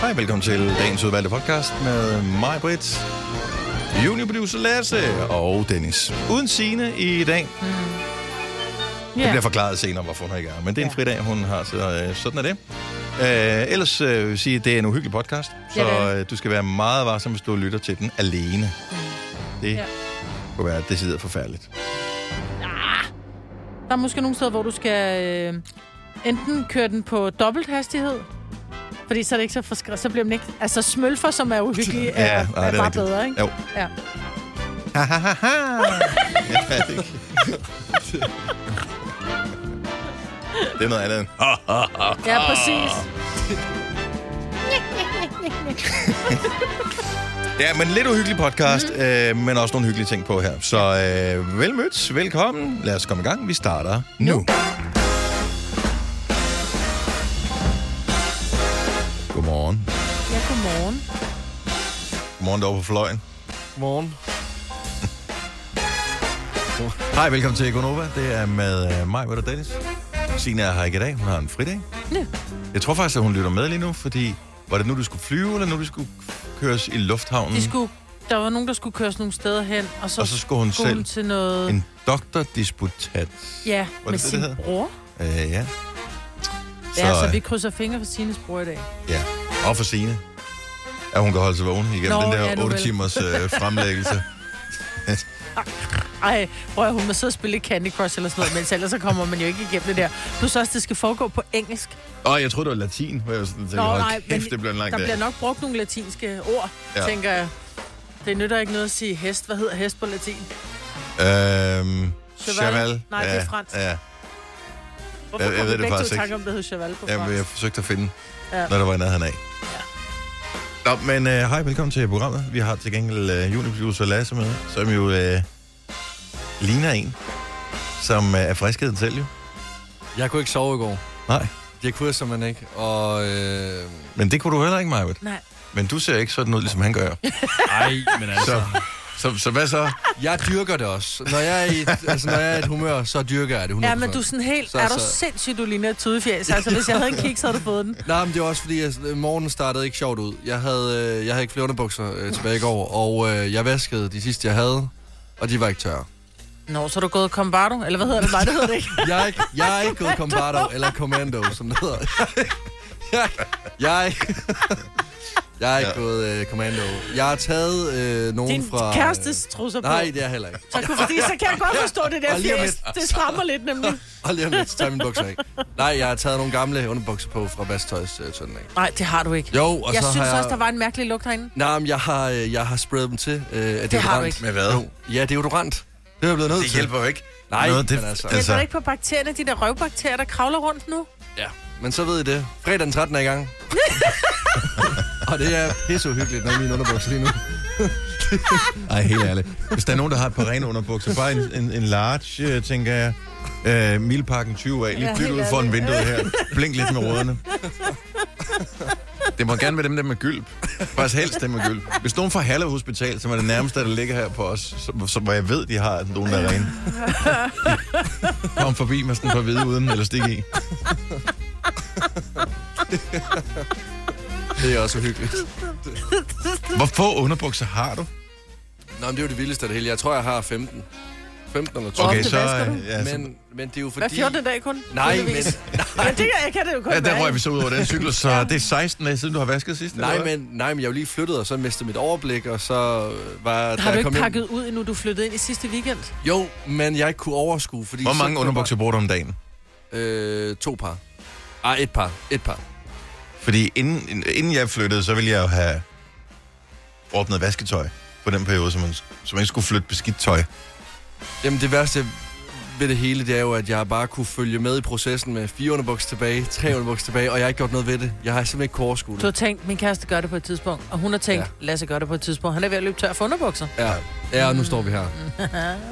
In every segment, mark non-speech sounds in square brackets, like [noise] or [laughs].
Hej, velkommen til dagens udvalgte podcast med mig, Britt, juniorproducer Lasse og Dennis. Uden Signe i dag. Mm. Det bliver forklaret senere, hvorfor hun ikke er. Men det er en Ja. fridag, hun har, så øh, sådan er det. Øh, ellers øh, vil jeg sige, at det er en uhyggelig podcast, så Ja, det er det. Mm. øh, du skal være meget varsom, hvis du lytter til den alene. Det Ja. kunne være decideret forfærdeligt. Der er måske nogle steder, hvor du skal øh, enten køre den på dobbelt hastighed, fordi så, er det ikke så, forskre- så bliver man ikke... Altså smølfer, som er uhyggelig, er, ja, nej, er, det bare rigtigt. bedre, ikke? Jo. Ja. Ha, ha, ha, ha. [laughs] ja, det, det er noget andet. end, "Ha, ha, ha, ha." ja, [laughs] præcis. Ja, men lidt uhyggelig podcast, Mhm. mm. øh, men også nogle hyggelige ting på her. Så øh, velmødt, velkommen. Mm. Lad os komme i gang. Vi starter nu. nu. Godmorgen. Ja, godmorgen. Godmorgen derovre på fløjen. Morgen. Hej, velkommen til Gonova. Det er med øh, mig, og Dennis. Signe er her ikke i dag. Hun har en fridag. Ja. Jeg tror faktisk, at hun lytter med lige nu, fordi... Var det nu, du skulle flyve, eller nu, du skulle køres i lufthavnen? De skulle, der var nogen, der skulle køres nogle steder hen, og så, Mm. Og så skulle hun skulle selv hun til noget... en doktordisputat. ja, det med det, sin det hed? bror. altså Øh, ja. Ja, så, øh, vi krydser fingre for Sines bror i dag. Ja, og for Signe. At hun kan holde sig vågen igennem Nå, den ja, der nu 8 vel. timers [laughs] øh, fremlæggelse. Ej, prøv at hun må sidde og spille lidt Candy Crush eller sådan noget, mens ellers så kommer man jo ikke igennem det der. Plus også, det skal foregå på engelsk. Og jeg troede, det var latin, hvor jeg var sådan, tænkte, Nå, hold nej, kæft, men det bliver en lang Der dag. bliver nok brugt nogle latinske ord, Ja. ja. tænker jeg. Det nytter ikke noget at sige hest. Hvad hedder hest på latin? Øhm, Cheval? Cheval. Nej, det er Ja, fransk. Ja, Hvorfor Jeg- jeg kom ved vi det begge to i faktisk ikke. tanke om, det hedder cheval på jeg, jeg fransk? forsøgte at finde, Ja. når der var i nærheden af. Nå, men øh, hej, velkommen til programmet. Vi har til gengæld øh, juniproducer Lasse med, som jo øh, ligner en, som øh, er frisket selv jo. Jeg kunne ikke sove i går. Nej, Det kunne jeg simpelthen ikke. Og øh, men det kunne du heller ikke, Majbet. Nej. Men du ser ikke sådan ud, ligesom han [laughs] gør. Nej, men altså... Så, så, så hvad så? jeg dyrker det også. Når jeg er i et, altså, når jeg er i et humør, så dyrker jeg det 100%. Ja, men du er sådan helt... Så er du altså- sindssygt, du ligner et tudefjæs? Altså, hvis jeg havde en kig, så havde du fået den. Nej, men det var også fordi, at øh, morgenen startede ikke sjovt ud. Jeg havde, øh, jeg havde ikke flere underbukser øh, tilbage i går, og øh, jeg vaskede de sidste, jeg havde, og de var ikke tørre. Nå, så er du gået kombardo, eller hvad hedder det? Nej, det hedder [laughs] det ikke. Jeg er ikke, jeg er ikke gået Combardo, eller Commando, som det hedder. [laughs] Jeg, jeg, er ikke- jeg er ikke Ja. gået øh, Commando. Jeg har taget øh, nogen Din fra... øh, kærestes trusser på. Nej, det er heller ikke. Så, kunne, fordi, så kan jeg godt forstå det der Og lige om fjæs. Det strammer lidt nemlig. Og [laughs] lige om lidt, så tager jeg mine bukser af. Nej, jeg har taget nogle gamle underbukser på fra vasketøjstønden af. Nej, det har du ikke. Jo, og jeg så synes har jeg... også, der var en mærkelig lugt herinde. Nej, men jeg har, øh, jeg har sprayet dem til. Øh, af Det har du deodorant. ikke. Med hvad? Jo, ja, deodorant. Det er jeg blevet nødt Det til. hjælper jo ikke. Nej, Noget, det, men altså- Altså... Hjælper det altså ikke på bakterierne, de der røvbakterier, der kravler [laughs] rundt nu? Ja, men så ved I det. Fredag den 13. er i [laughs] gang. og det er pisseuhyggeligt, når min underbukser lige nu. [laughs] ej, helt ærligt. Hvis der er nogen, der har et par rene underbukser, bare en, en, en large, øh, tænker jeg. Øh, Milpakken 20 af, lige Ja, flyt helt ud foran ærligt. vinduet her. Blink lidt med rødderne. Det må gerne være dem der med gylp. Faktisk helst dem med gylp. Hvis nogen fra Halle Hospital, som er det nærmeste, der ligger her på os, som, som hvor jeg ved, de har nogen, der er rene. Kom forbi med sådan et par hvide uden, eller stik i. Det er også uhyggeligt. Hvor få underbukser har du? Nå, men det er jo det vildeste af det hele. Jeg tror, jeg har 15. 15 eller 20. Okay, ofte så... vasker du? øh, Ja, så Men, men det er jo fordi... Hver 14. dag kun? Nej, men, tydeligvis. [laughs] Men det kan, jeg kan det jo kun Ja, der være, røg ikke? vi så ud over den cykel, så det er 16 dage siden, du har vasket sidst. nej, eller hvad? men, nej, men jeg er jo lige flyttet, og så mistede mit overblik, og så øh, var... da Har jeg du kom ikke hjem- pakket ud endnu? Du flyttede ind i sidste weekend. Jo, men jeg ikke kunne overskue, fordi... Hvor så mange kunne underbukser bruger du om dagen? jeg bare- Øh, to par. Ah, et par. Et par. Fordi inden, inden jeg flyttede, så ville jeg jo have ordnet vasketøj på den periode, så man, så man ikke skulle flytte beskidt tøj. Jamen, det værste ved det hele, det er jo, at jeg bare kunne følge med i processen med fire underbukser tilbage, tre underbukser tilbage, og jeg har ikke gjort noget ved det. Jeg har simpelthen ikke kunne overskue Du har det. tænkt, min kæreste gør det på et tidspunkt, og hun har tænkt, ja. Ja. Lasse gør det på et tidspunkt. Han er ved at løbe tør for underbukser. [laughs] Ja, ja og nu står vi her.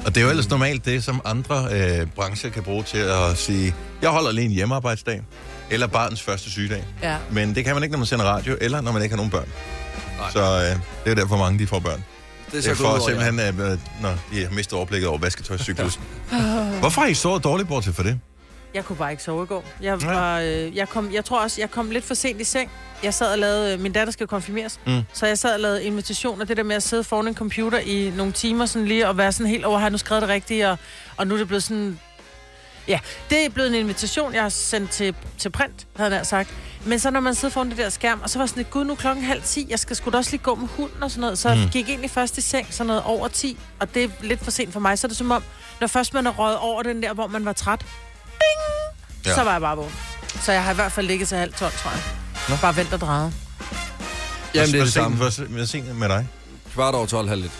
Og det er jo ellers normalt det, som andre øh, brancher kan bruge til at sige, jeg holder lige en hjemmearbejdsdag, eller barnets første sygedag. Ja. Men det kan man ikke, når man sender radio, eller når man ikke har nogen børn. Nej. Så øh, det er jo derfor, mange de får børn. Det er Det er gået for over, simpelthen, øh, øh, når de har mistet overblikket over vasketøjscyklusen. Hvorfor har I så dårligt bort til for det? Jeg kunne bare ikke sove i går. Jeg, Nej. var, øh, jeg, kom, jeg tror også, jeg kom lidt for sent i seng. Jeg sad og lavede, øh, min datter skal konfirmeres, Mm. mm. så jeg sad og lavede invitationer, det der med at sidde foran en computer i nogle timer, sådan lige og være sådan helt over, har jeg nu skrevet det rigtigt, og, og nu er det blevet sådan... Ja, det er blevet en invitation, jeg har sendt til, til print, havde jeg sagt. Men så når man sidder foran det der skærm, og så var jeg sådan lidt, gud, nu er klokken halv ti, jeg skal sgu da også lige gå med hunden og sådan noget. Så Mm. mm. gik jeg egentlig først i seng, sådan noget over ti, og det er lidt for sent for mig. Så er det som om, når først man er røget over den der, hvor man var træt, Ja. ja. så var jeg bare vågen. Så jeg har i hvert fald ligget til halv tolv, tror jeg. Nå. Nå. Bare vent og Jamen, drejet. det er Hvor det sent- samme. hvor se- Hvor sent med dig? Kvart over 12, halv lidt.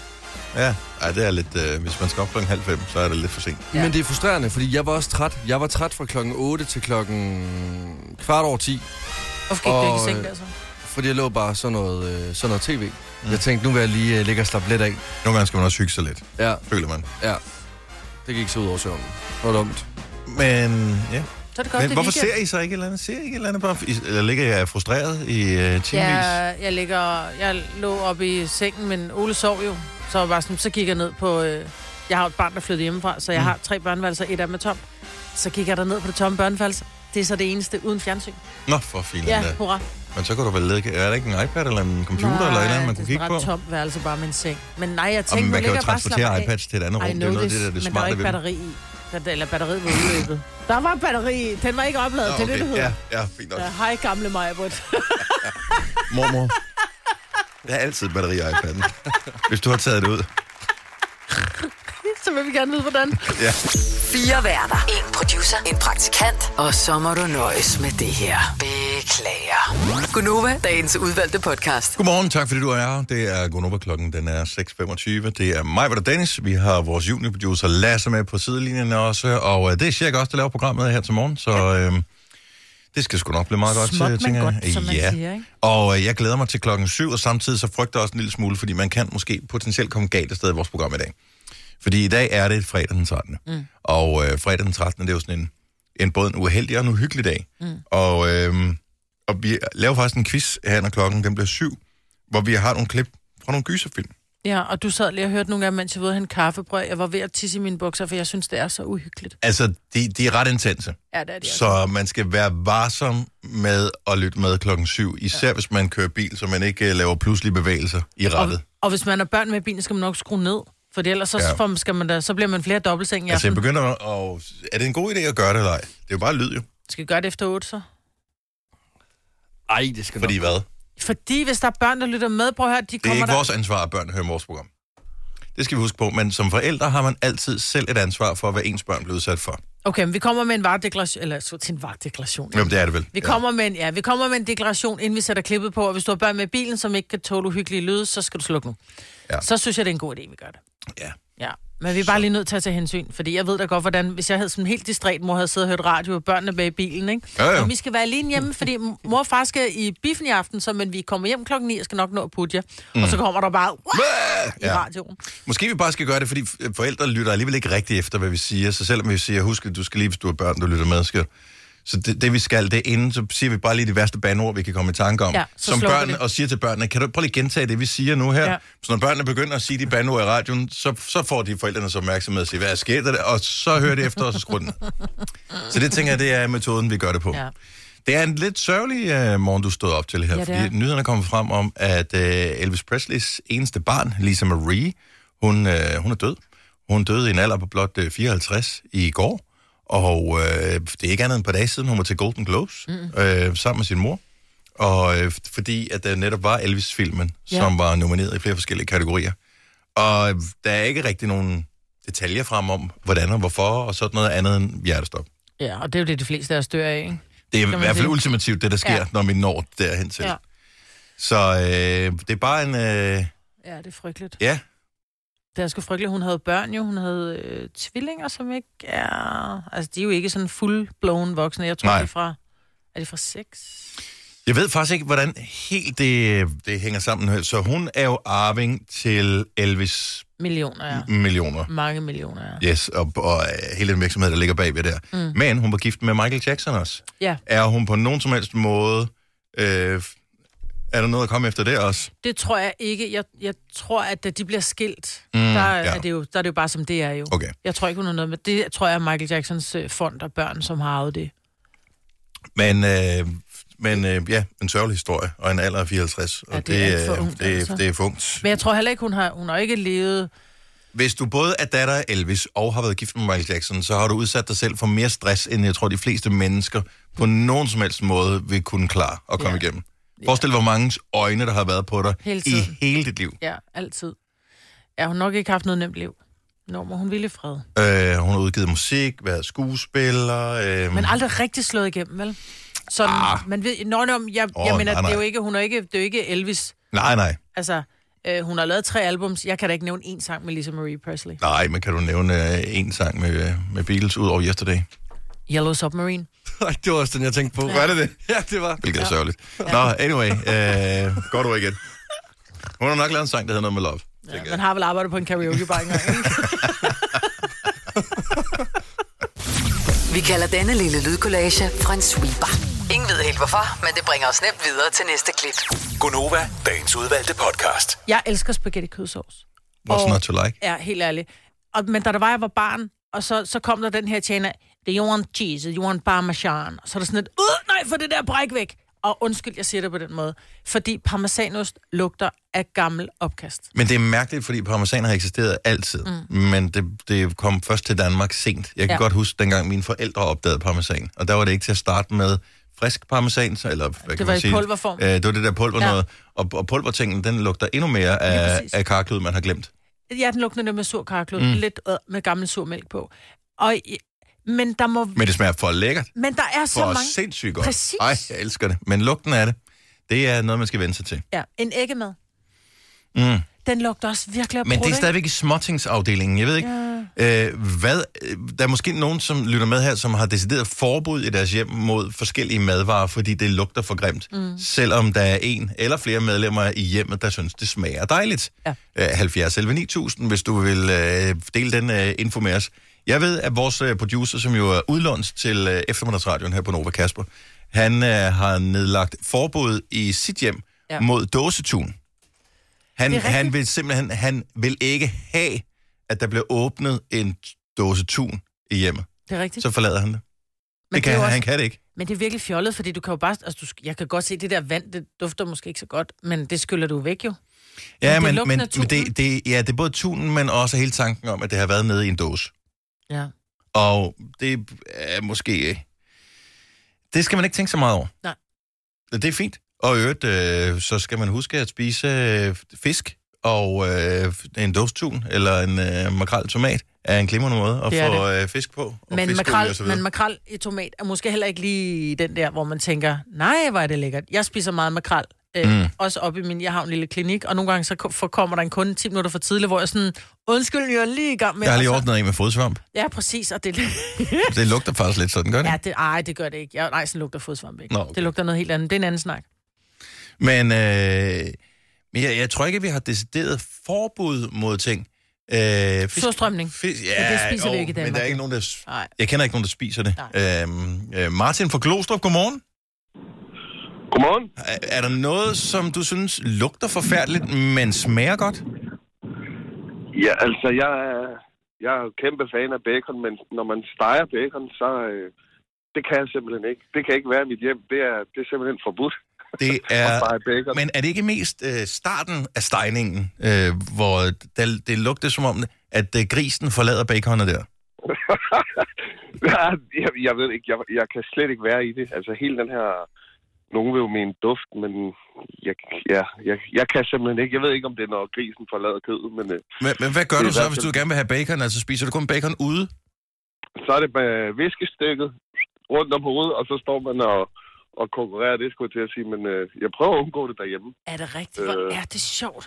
Ja, Ej, det er lidt... Øh, hvis man skal op klokken halv fem, så er det lidt for sent. Ja. Ja. Men det er frustrerende, fordi jeg var også træt. Jeg var træt fra klokken 8 til klokken kvart over 10, Hvorfor gik og... du ikke Og, i seng altså? øh, der så? fordi jeg lå bare sådan noget, øh, sådan noget tv. Mm. Jeg tænkte, nu vil jeg lige øh, ligge og slappe lidt af. Nogle gange skal man også hygge sig lidt, Ja, føler man. ja. Det gik så ud over søvnen. Det var dumt. Men ja. Så er det godt, Men det er hvorfor weekend. ser I så ikke et eller andet? Ser I ikke et eller andet bare? I- Eller ligger jeg frustreret i øh, timevis? Ja. Jeg, jeg, ligger, jeg lå oppe i sengen, men Ole sov jo. Så, var jeg sådan, så gik jeg ned på... Øh, jeg har jo et barn, der flyttede hjemmefra, så jeg Mm. har tre børneværelser, et af dem er tomt. Så gik jeg ned på det tomme børneværelse. Det er så det eneste uden fjernsyn. Nå, for fint. Ja, Ja. hurra. Men så kan du vel lægge... Er der ikke en iPad eller en computer eller et eller andet, man kunne kigge det på? er sådan ret tomt værelse, bare med en seng. Men nej, jeg Og tænkte, man nu kan ligger jo jeg bare og slapper transportere af. iPads til et andet rum. I Det er jo know noget af this, det, der er det men der var smarte ikke ved det. batteri i. Der- Eller batteriet var udløbet. Der var batteri i. Den var ikke opladet, Nå, det er det, det hedder. Ja, ja, fint nok. Ja, hej gamle Majbert. [laughs] Mormor. Der er altid et batteri i iPad'en, hvis du har taget det ud. [laughs] Så vil vi gerne vide, hvordan. Ja. Fire værter. En producer. En praktikant. Og så må du nøjes med det her. Beklager. Gunova, dagens udvalgte podcast. Godmorgen, tak fordi du er her. Det er Gunova klokken, den er 6.25. Det er mig, og Dennis. Vi har vores juniorproducer Lasse med på sidelinjen også. Og øh, det er cirka også, der laver programmet her til morgen, så øh, det skal sgu nok blive meget godt. øh, Småt, men tænker jeg. godt, som man ja. siger, ikke? Og øh, jeg glæder mig til klokken 7, og samtidig så frygter jeg også en lille smule, fordi man kan måske potentielt komme galt af sted i vores program i dag. Fordi i dag er det fredag den 13. Mm. Og øh, fredag den 13. det er jo sådan en, en både en uheldig og en uhyggelig dag. Mm. Og, øh, og vi laver faktisk en quiz her, når klokken den bliver 7, hvor vi har nogle klip fra nogle gyserfilm. Ja, og du sad lige og hørte nogle gange, mens jeg var ude en kaffebrød. Jeg var ved at tisse i mine bukser, for jeg synes, det er så uhyggeligt. Altså, de, de er ret intense. Ja, det er det. altså. Så man skal være varsom med at lytte med klokken 7, især ja. hvis man kører bil, så man ikke øh, laver pludselige bevægelser i rettet. Og, og hvis man har børn med i bilen, skal man nok skrue ned. For ellers så, Ja. ja. skal man da, så bliver man flere dobbeltseng i Altså, jeg aften. begynder at... Er det en god idé at gøre det eller ej? Det er jo bare lyd, jo. Skal vi gøre det efter 8, så? Ej, det skal Fordi nok. hvad? Fordi hvis der er børn, der lytter med, prøv at høre, de Det er kommer ikke der... vores ansvar, at børn hører vores program. Det skal vi huske på, men som forældre har man altid selv et ansvar for, hvad ens børn bliver udsat for. Okay, men vi kommer med en varedeklaration, eller så til en varedeklaration. Jamen, det er det vel. Vi kommer, med en, ja, vi kommer med en deklaration, inden vi sætter klippet på, og hvis du har børn med i bilen, som ikke kan tåle uhyggelige lyde, så skal du slukke nu. Ja. Så synes jeg, det er en god idé, vi gør det. Ja. Ja. Men vi er bare lige nødt til at tage hensyn, fordi jeg ved da godt, hvordan, hvis jeg havde sådan en helt distræt mor, havde siddet og hørt radio, og børnene med i bilen, ikke? Ja, ja. Og vi skal være alene hjemme, fordi mor og far skal i biffen i aften, så men vi kommer hjem klokken 9 og skal nok nå at putte jer. Mm. Og så kommer der bare "Wah!" Ja. i ja. radioen. Måske vi bare skal gøre det, fordi f- forældre lytter alligevel ikke rigtigt efter, hvad vi siger. Så selvom vi siger, husk, at du skal lige, hvis du har børn, du lytter med, skal så det, det, vi skal, det er inden, så siger vi bare lige de værste bandord, vi kan komme i tanke om. Ja, så som slukker børn, vi det. og siger til børnene, kan du prøve lige at gentage det, vi siger nu her? Ja. Ja. Så når børnene begynder at sige de bandord i radioen, så, så får de forældrenes opmærksomhed og siger, hvad er sket der? Og så hører de efter, og så skruer den. ned. Så det tænker jeg, det er metoden, vi gør det på. Ja. Ja. Det er en lidt sørgelig uh, morgen, du stod op til her, Ja, det fordi er. nyhederne kom frem om, at uh, Elvis Presleys eneste barn, Lisa Marie, hun, uh, hun er død. Hun døde i en alder på blot uh, 54 i går, og uh, det er ikke andet end et par dage siden, hun var til Golden Globes mm. uh, sammen med sin mor. Og øh, f- fordi at der netop var Elvis-filmen, ja. Ja. som var nomineret i flere forskellige kategorier. Og øh, der er ikke rigtig nogen detaljer frem om, hvordan og hvorfor, og sådan noget andet end hjertestop. Ja, og det er jo det, de fleste af os dør af, ikke? Det er i man hvert fald sige. ultimativt, det der sker, ja. Ja. når vi når derhen til. Ja. Ja. Så øh, det er bare en... Øh, Ja, det er frygteligt. ja, Det er sgu frygteligt. Hun havde børn jo. Hun havde øh, tvillinger, som ikke er... Altså, de er jo ikke sådan full-blown voksne. Jeg tror, Nej. de er fra... Er de fra seks? jeg ved faktisk ikke, hvordan helt det, det hænger sammen. her. Så hun er jo arving til Elvis Millioner, ja. Mm, Mm. millioner. Mange millioner, ja. Yes, og, og øh, hele den virksomhed, der ligger bagved der. Mm. Men hun var gift med Michael Jackson også. Ja, er hun på nogen som helst måde... Øh, Er der noget at komme efter det også? Det tror jeg ikke. Jeg, jeg tror, at da de bliver skilt, Mm, mm, der, ja. ja. er det jo, der er det jo bare som det er jo. Okay. Jeg tror ikke, hun har noget med det. tror jeg er Michael Jacksons øh, fond og børn, som har arvet det. Men, øh, men øh, ja, en sørgelig historie, og en alder af 54. Og Ja, det er alt for øh, ungt, det, altså. det er for ungt. Men jeg tror heller ikke, hun har, hun har ikke levet... Hvis du både er datter af Elvis og har været gift med Michael Jackson, så har du udsat dig selv for mere stress, end jeg tror, de fleste mennesker på nogen som helst måde vil kunne klare at komme ja. igennem. Forestil dig, hvor mange øjne, der har været på dig Hele i tiden. hele dit liv. Ja, altid. Ja, hun har nok ikke haft noget nemt liv. Nå, må hun ville i fred. Øh, hun har udgivet musik, været skuespiller. Øh, Men aldrig rigtig slået igennem, vel? Sådan, Ah. ah. man ved... Nå, nå, jeg, Åh, jeg mener, nej, det er jo nej. ikke, hun er ikke, det er jo ikke Elvis. Nej, nej. Altså, øh, hun har lavet tre albums. Jeg kan da ikke nævne én sang med Lisa Marie Presley. Nej, men kan du nævne øh, en sang med, øh, med Beatles ud over Yesterday? Yellow Submarine. [laughs] Ej, det var også den, jeg tænkte på. Var det det? [laughs] Ja, det var. Hvilket er sørgeligt. Nå, anyway. Øh, godt ord igen. Hun har nok lavet en sang, der hedder noget med love. Ja, man har vel arbejdet på en karaokebar engang, ikke? Vi kalder denne lille lydkollage en sweeper. Ingen ved helt hvorfor, men det bringer os nemt videre til næste klip. Gunova, dagens udvalgte podcast. [laughs] Jeg elsker spaghetti kødsovs. What's Og- not to like? Ja, helt ærligt. Og, men da der var, jeg var barn, og så, så kom der den her tjener, do you want cheese, do you want parmesan? Og så er der sådan et, uh, nej, for det der bræk væk. Og undskyld, jeg siger det på den måde. Fordi parmesanost lugter af gammel opkast. Men det er mærkeligt, fordi parmesan har eksisteret altid. Mm. Men det, det kom først til Danmark sent. Jeg kan ja. Ja. godt huske, dengang mine forældre opdagede parmesan. Og der var det ikke til at starte med frisk parmesan, så, eller hvad kan var man i sige? pulverform. Øh, det var det der pulver Ja. noget. Og, og pulvertingen, den lugter endnu mere af, præcis. af karklud, man har glemt. Ja, den lugter nemlig med sur karklud, mm. lidt øh, med gammel sur mælk på. Og, i- men der må... Men det smager for lækkert. Men der er så For mange... sindssygt godt. Præcis. Ej, jeg elsker det. Men lugten af det, det er noget, man skal vende sig til. Ja, en æggemad. Mm. Den lugter også virkelig af Men brudt, det er ikke? stadigvæk i småtingsafdelingen. Jeg ved ikke, ja. øh, hvad, øh, der er måske nogen, som lytter med her, som har decideret forbud i deres hjem mod forskellige madvarer, fordi det lugter for grimt. Mm. Selvom der er en eller flere medlemmer i hjemmet, der synes, det smager dejligt. Ja. Øh, 70 11 9000, hvis du vil øh, dele den øh, info med os. Jeg ved, at vores øh, producer, som jo er udlånt til øh, eftermiddagsradioen her på Nova Kasper, han øh, har nedlagt forbud i sit hjem ja. Ja. mod dåsetun. Han, Det er rigtigt. han vil simpelthen han vil ikke have, at der bliver åbnet en dåse tun i hjemmet. Det er rigtigt. Så forlader han det. Men det det kan, er det jo også- Han kan det ikke. Men det er virkelig fjollet, fordi du kan jo bare... Altså, du, sk- jeg kan godt se, det der vand, det dufter måske ikke så godt, men det skyller du væk jo. Ja, det men, lugten men, af men tunen. det, det, ja, det er både tunen, men også hele tanken om, at det har været nede i en dåse. Ja. Og det er måske... Det skal man ikke tænke så meget over. Nej. Det er fint. Og i øvrigt, øh, så skal man huske at spise øh, fisk og øh, en dåstun eller en øh, makrel tomat er en glimrende måde at Det er få øh, fisk på. Og Men fiskolie og så makrel, videre. men makrel i tomat er måske heller ikke lige den der, hvor man tænker, nej, hvor er det lækkert. Jeg spiser meget makrel. Øh, Mm. mm. Også op i min, jeg har en lille klinik, og nogle gange så ko- for- kommer der en kunde 10 minutter for tidligt, hvor jeg sådan, undskyld, jeg er lige i gang med... Jeg har lige og så- ordnet en med fodsvamp. Ja, præcis, og det, Det lugter faktisk lidt sådan, gør det? ja, det, ej, det gør det ikke. Jeg, nej, sådan lugter fodsvamp ikke. Nå, okay. Det lugter noget helt andet. Det er en anden snak. Men, øh, men jeg, jeg tror ikke, at vi har decideret forbud mod ting. Øh, fisk, Surstrømning. fisk, ja, Men det spiser vi jo, ikke i Men Danmark, der er ikke jo. nogen, der... s- Nej. Jeg kender ikke nogen, der spiser det. Øhm, øh, Martin fra Glostrup, godmorgen. Godmorgen. Er, er der noget, som du synes lugter forfærdeligt, men smager godt? [laughs] Ja, altså, jeg er, jeg er jo kæmpe fan af bacon, men når man steger bacon, så... Øh, det kan jeg simpelthen ikke. Det kan ikke være i mit hjem. Det er, det er simpelthen forbudt [laughs] Det at er... stege bacon. Men... Men er det ikke mest øh, starten af stegningen, øh, hvor der, det lugter som om, at øh, grisen forlader baconet der? [laughs] ja, jeg, jeg ved ikke. Jeg, jeg kan slet ikke være i det. Altså, hele den her... Nogen vil jo mene duft, men jeg, ja, jeg, jeg kan simpelthen ikke. Jeg ved ikke, om det er, når grisen forlader kødet, men øh, Men, men hvad gør Det er du så, i hvert hvis du fald- gerne vil have bacon? Altså spiser du kun bacon ude? så er det med viskestykket rundt om hovedet, og så står man og, og konkurrerer. Det skulle jeg til at sige, men øh, jeg prøver at undgå det derhjemme. Er det rigtigt? Hvor Øh. er det sjovt?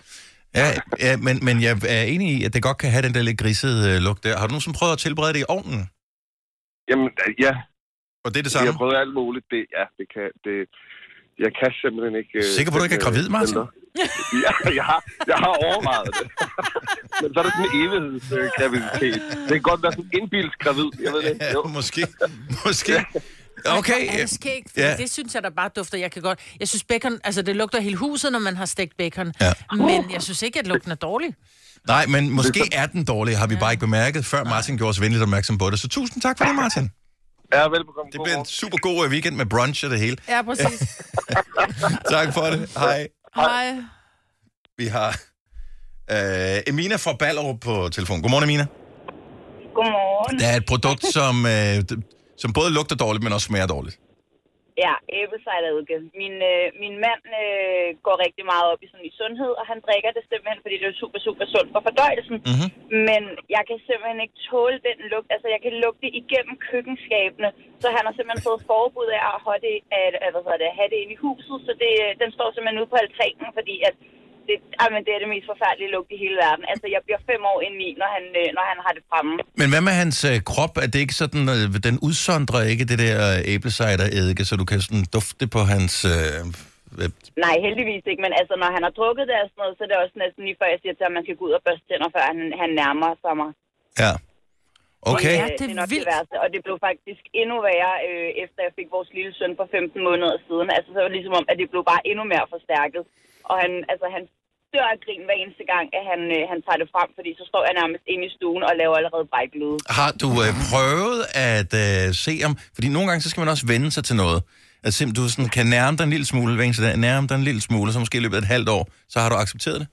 Ja, ja men, men jeg er enig i, at det godt kan have den der lidt grisede øh, lugt der. Har du nogensinde prøvet at tilberede det i ovnen? Jamen, ja, Og det er Samme. det samme? jeg har prøvet alt muligt. Det, ja, det kan, det, jeg kan simpelthen ikke... øh, Sikker på, du ikke den, er gravid, øh, den Martin? der. ja, jeg har, jeg har overvejet det. [laughs] Men så er det sådan en evighedsgraviditet. Det kan godt være sådan en indbildsgravid, jeg ved det. Jo. Ja, [laughs] måske. Måske. Okay. Er det skægt? Ja. Ja. Det synes jeg da bare dufter. Jeg kan godt... Jeg synes bacon... Altså, det lugter hele huset, når man har stegt bacon. Ja. Men jeg synes ikke, at lugten er dårlig. Nej, men måske er den dårlig, har vi bare ikke bemærket, før Martin gjorde os venligt opmærksom på det. Så tusind tak for det, Martin. Ja, velbekomme. Det bliver en super god øh, weekend med brunch og det hele. Ja, [laughs] præcis. Tak for det. Hej. Hej. Vi har øh, Emina fra Ballerup på telefon. Godmorgen, Emina. Godmorgen. Der er et produkt, som, øh, d- som både lugter dårligt, men også smager dårligt. Ja, æblesejladike. Min, øh, min mand øh, går rigtig meget op i sådan i sundhed, og han drikker det simpelthen, fordi det er super, super sundt for fordøjelsen. Mhm. Men jeg kan simpelthen ikke tåle den lugt. Altså, jeg kan lugte det igennem køkkenskabene. Så han har simpelthen fået forbud af at have det, at, at, hvad hedder det, have det inde i huset. Så det, øh, den står simpelthen ude på altanen, fordi at det, ej, men det er det mest forfærdelige lugt i hele verden. Altså, jeg bliver fem år indeni, når han, øh, når han har det fremme. Men hvad med hans øh, krop? Er det ikke sådan, øh, den udsondrer ikke det der øh, æblecider-eddike, så du kan sådan dufte på hans... Øh, øh, Nej, heldigvis ikke, men altså, når han har drukket det og sådan noget, så er det også næsten lige før, jeg siger til ham, at man skal gå ud og børste tænder, før han, han nærmer sig mig. ja. Okay. Det, øh, det er nok det værste, og det blev faktisk endnu værre, øh, efter jeg fik vores lille søn for 15 måneder siden. Altså, så var det ligesom om, at det blev bare endnu mere forstærket. Og han, altså, han dør af grin hver eneste gang, at han, øh, han tager det frem, fordi så står jeg nærmest inde i stuen og laver allerede bræklyde. Har du øh, prøvet at øh, se om... Fordi nogle gange, så skal man også vende sig til noget. At simpelthen, du sådan, kan nærme dig en lille smule hver eneste dag, nærme dig en lille smule, og så måske i løbet af et halvt år, så har du accepteret det.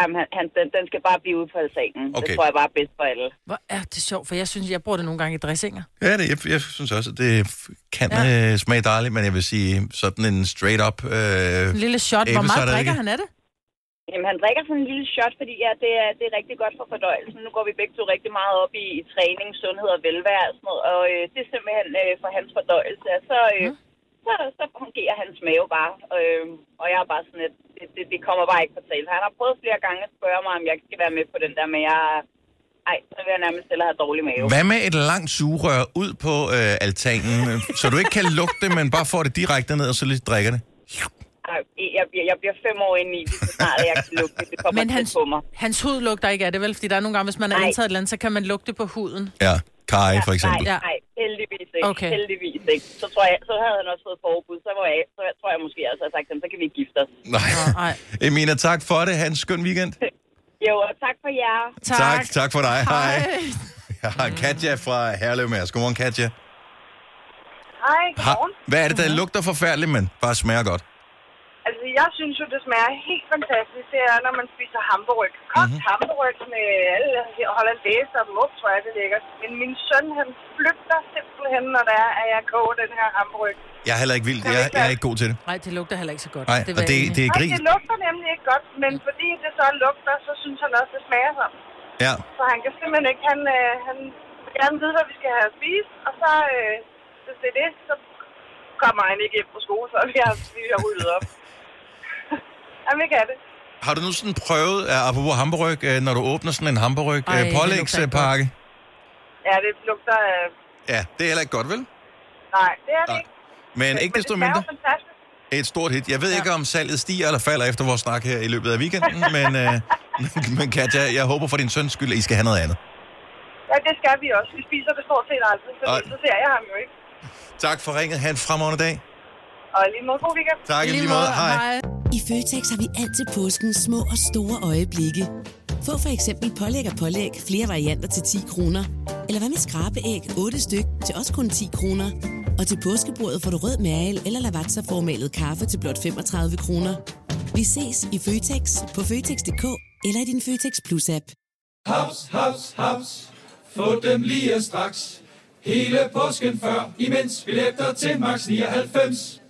Jamen, han, han, den, den skal bare blive ude på altanen. Okay. Det Okay. tror jeg bare er bedst for alle. Hvor er det sjovt, for jeg synes, jeg bruger det nogle gange i dressinger. Ja, det, jeg, jeg synes også, at det f- kan ja. øh, smage dejligt, men jeg vil sige sådan en straight-up... Øh, En lille shot. Hvor meget æblecider-eddike. drikker han af det? Jamen, han drikker sådan en lille shot, fordi ja, det, er, det er rigtig godt for fordøjelsen. Nu går vi begge to rigtig meget op i, i træning, sundhed og velvære og sådan noget, og øh, det er simpelthen øh, for hans fordøjelse. Og Så, øh, så, så fungerer hans mave bare, øh, og jeg er bare sådan, at det, det, det kommer bare ikke på tale. Han har prøvet flere gange at spørge mig, om jeg skal være med på den der, men jeg... Ej, så vil jeg nærmest hellere have dårlig mave. Hvad med et langt sugerør ud på øh, altanen, [laughs] øh, så du ikke kan lugte det, men bare får det direkte ned, og så lige drikker det? Ej, jeg, bliver, jeg bliver fem år inde i det, så snart at jeg kan lukke det. Det kommer Men tæt hans, på mig. hans hud lugter ikke af det, vel? Fordi der er nogle gange, hvis man er Nej. indtaget et eller andet, så kan man lugte på huden. Ja, kaj for eksempel. Nej, nej, heldigvis ikke. Okay. Okay. Heldigvis ikke. Så, tror jeg, så havde han også fået forbud. Så, var jeg, så jeg, tror jeg måske, jeg altså, havde sagt til ham, så kan vi ikke gifte os. Nej. [laughs] Emina, tak for det. Ha' en skøn [laughs] weekend. Jo, og tak for jer. tak, tak for dig. Hej. Jeg har Katja fra Herlev med os. Godmorgen, Katja. Hej, Ha, godmorgen. hvad er det, der lugter forfærdeligt, men bare smager godt? Altså, jeg synes jo, det smager helt fantastisk, det er, når man spiser hamburg. Kogt mm-hmm. hamburg med alle hollandaise og mug, tror jeg, det er lækkert. Men min søn, han flygter simpelthen, når det er, at jeg koger den her hamburg. Jeg er heller ikke vild. Jeg, jeg er ikke god til det. Nej, det lugter heller ikke så godt. Nej, vil og jeg det- egentlig- det er Nej, det lugter nemlig ikke godt, men fordi det så lugter, så synes han også, det smager sådan. Ja. Så han kan simpelthen ikke, han, øh, han vil gerne vide, hvad vi skal have at spise, og så, øh, hvis det er det, så kommer han ikke hjem fra skole, så vi har, vi har ryddet [laughs] op. Jamen, ikke er det. Har du nu sådan prøvet, uh, apropos hamburg, øh, når du åbner sådan en hamburg Ej, det øh, lugter pålægspakke? Ja, det lugter af... Ja, det er heller ikke godt, vel? Nej, det er det Nej. ikke. Men ikke desto Det er mindre jo fantastisk. et stort hit. Jeg ved ikke, om salget stiger eller falder efter vores snak her i løbet af weekenden, men, øh, [laughs] men Katja, jeg håber for din søns skyld, at I skal have noget andet. Ja, det skal vi også. Vi spiser det stort set aldrig, så, Nej. så ser jeg ham jo ikke. Tak for ringet. Ha' en fremragende dag. Og lige måde god weekend. Tak, i lige måde. Hej. I Føtex har vi alt til påsken små og store øjeblikke. Få for eksempel pålæg og pålæg flere varianter til 10 kroner. Eller hvad med skrabeæg 8 styk til også kun 10 kroner. Og til påskebordet får du rød mal eller lavatserformalet kaffe til blot 35 kroner. Vi ses i Føtex på Føtex.dk eller i din Føtex Plus-app. Haps, haps, haps. Få dem lige straks. Hele påsken før, imens billetter til max 99.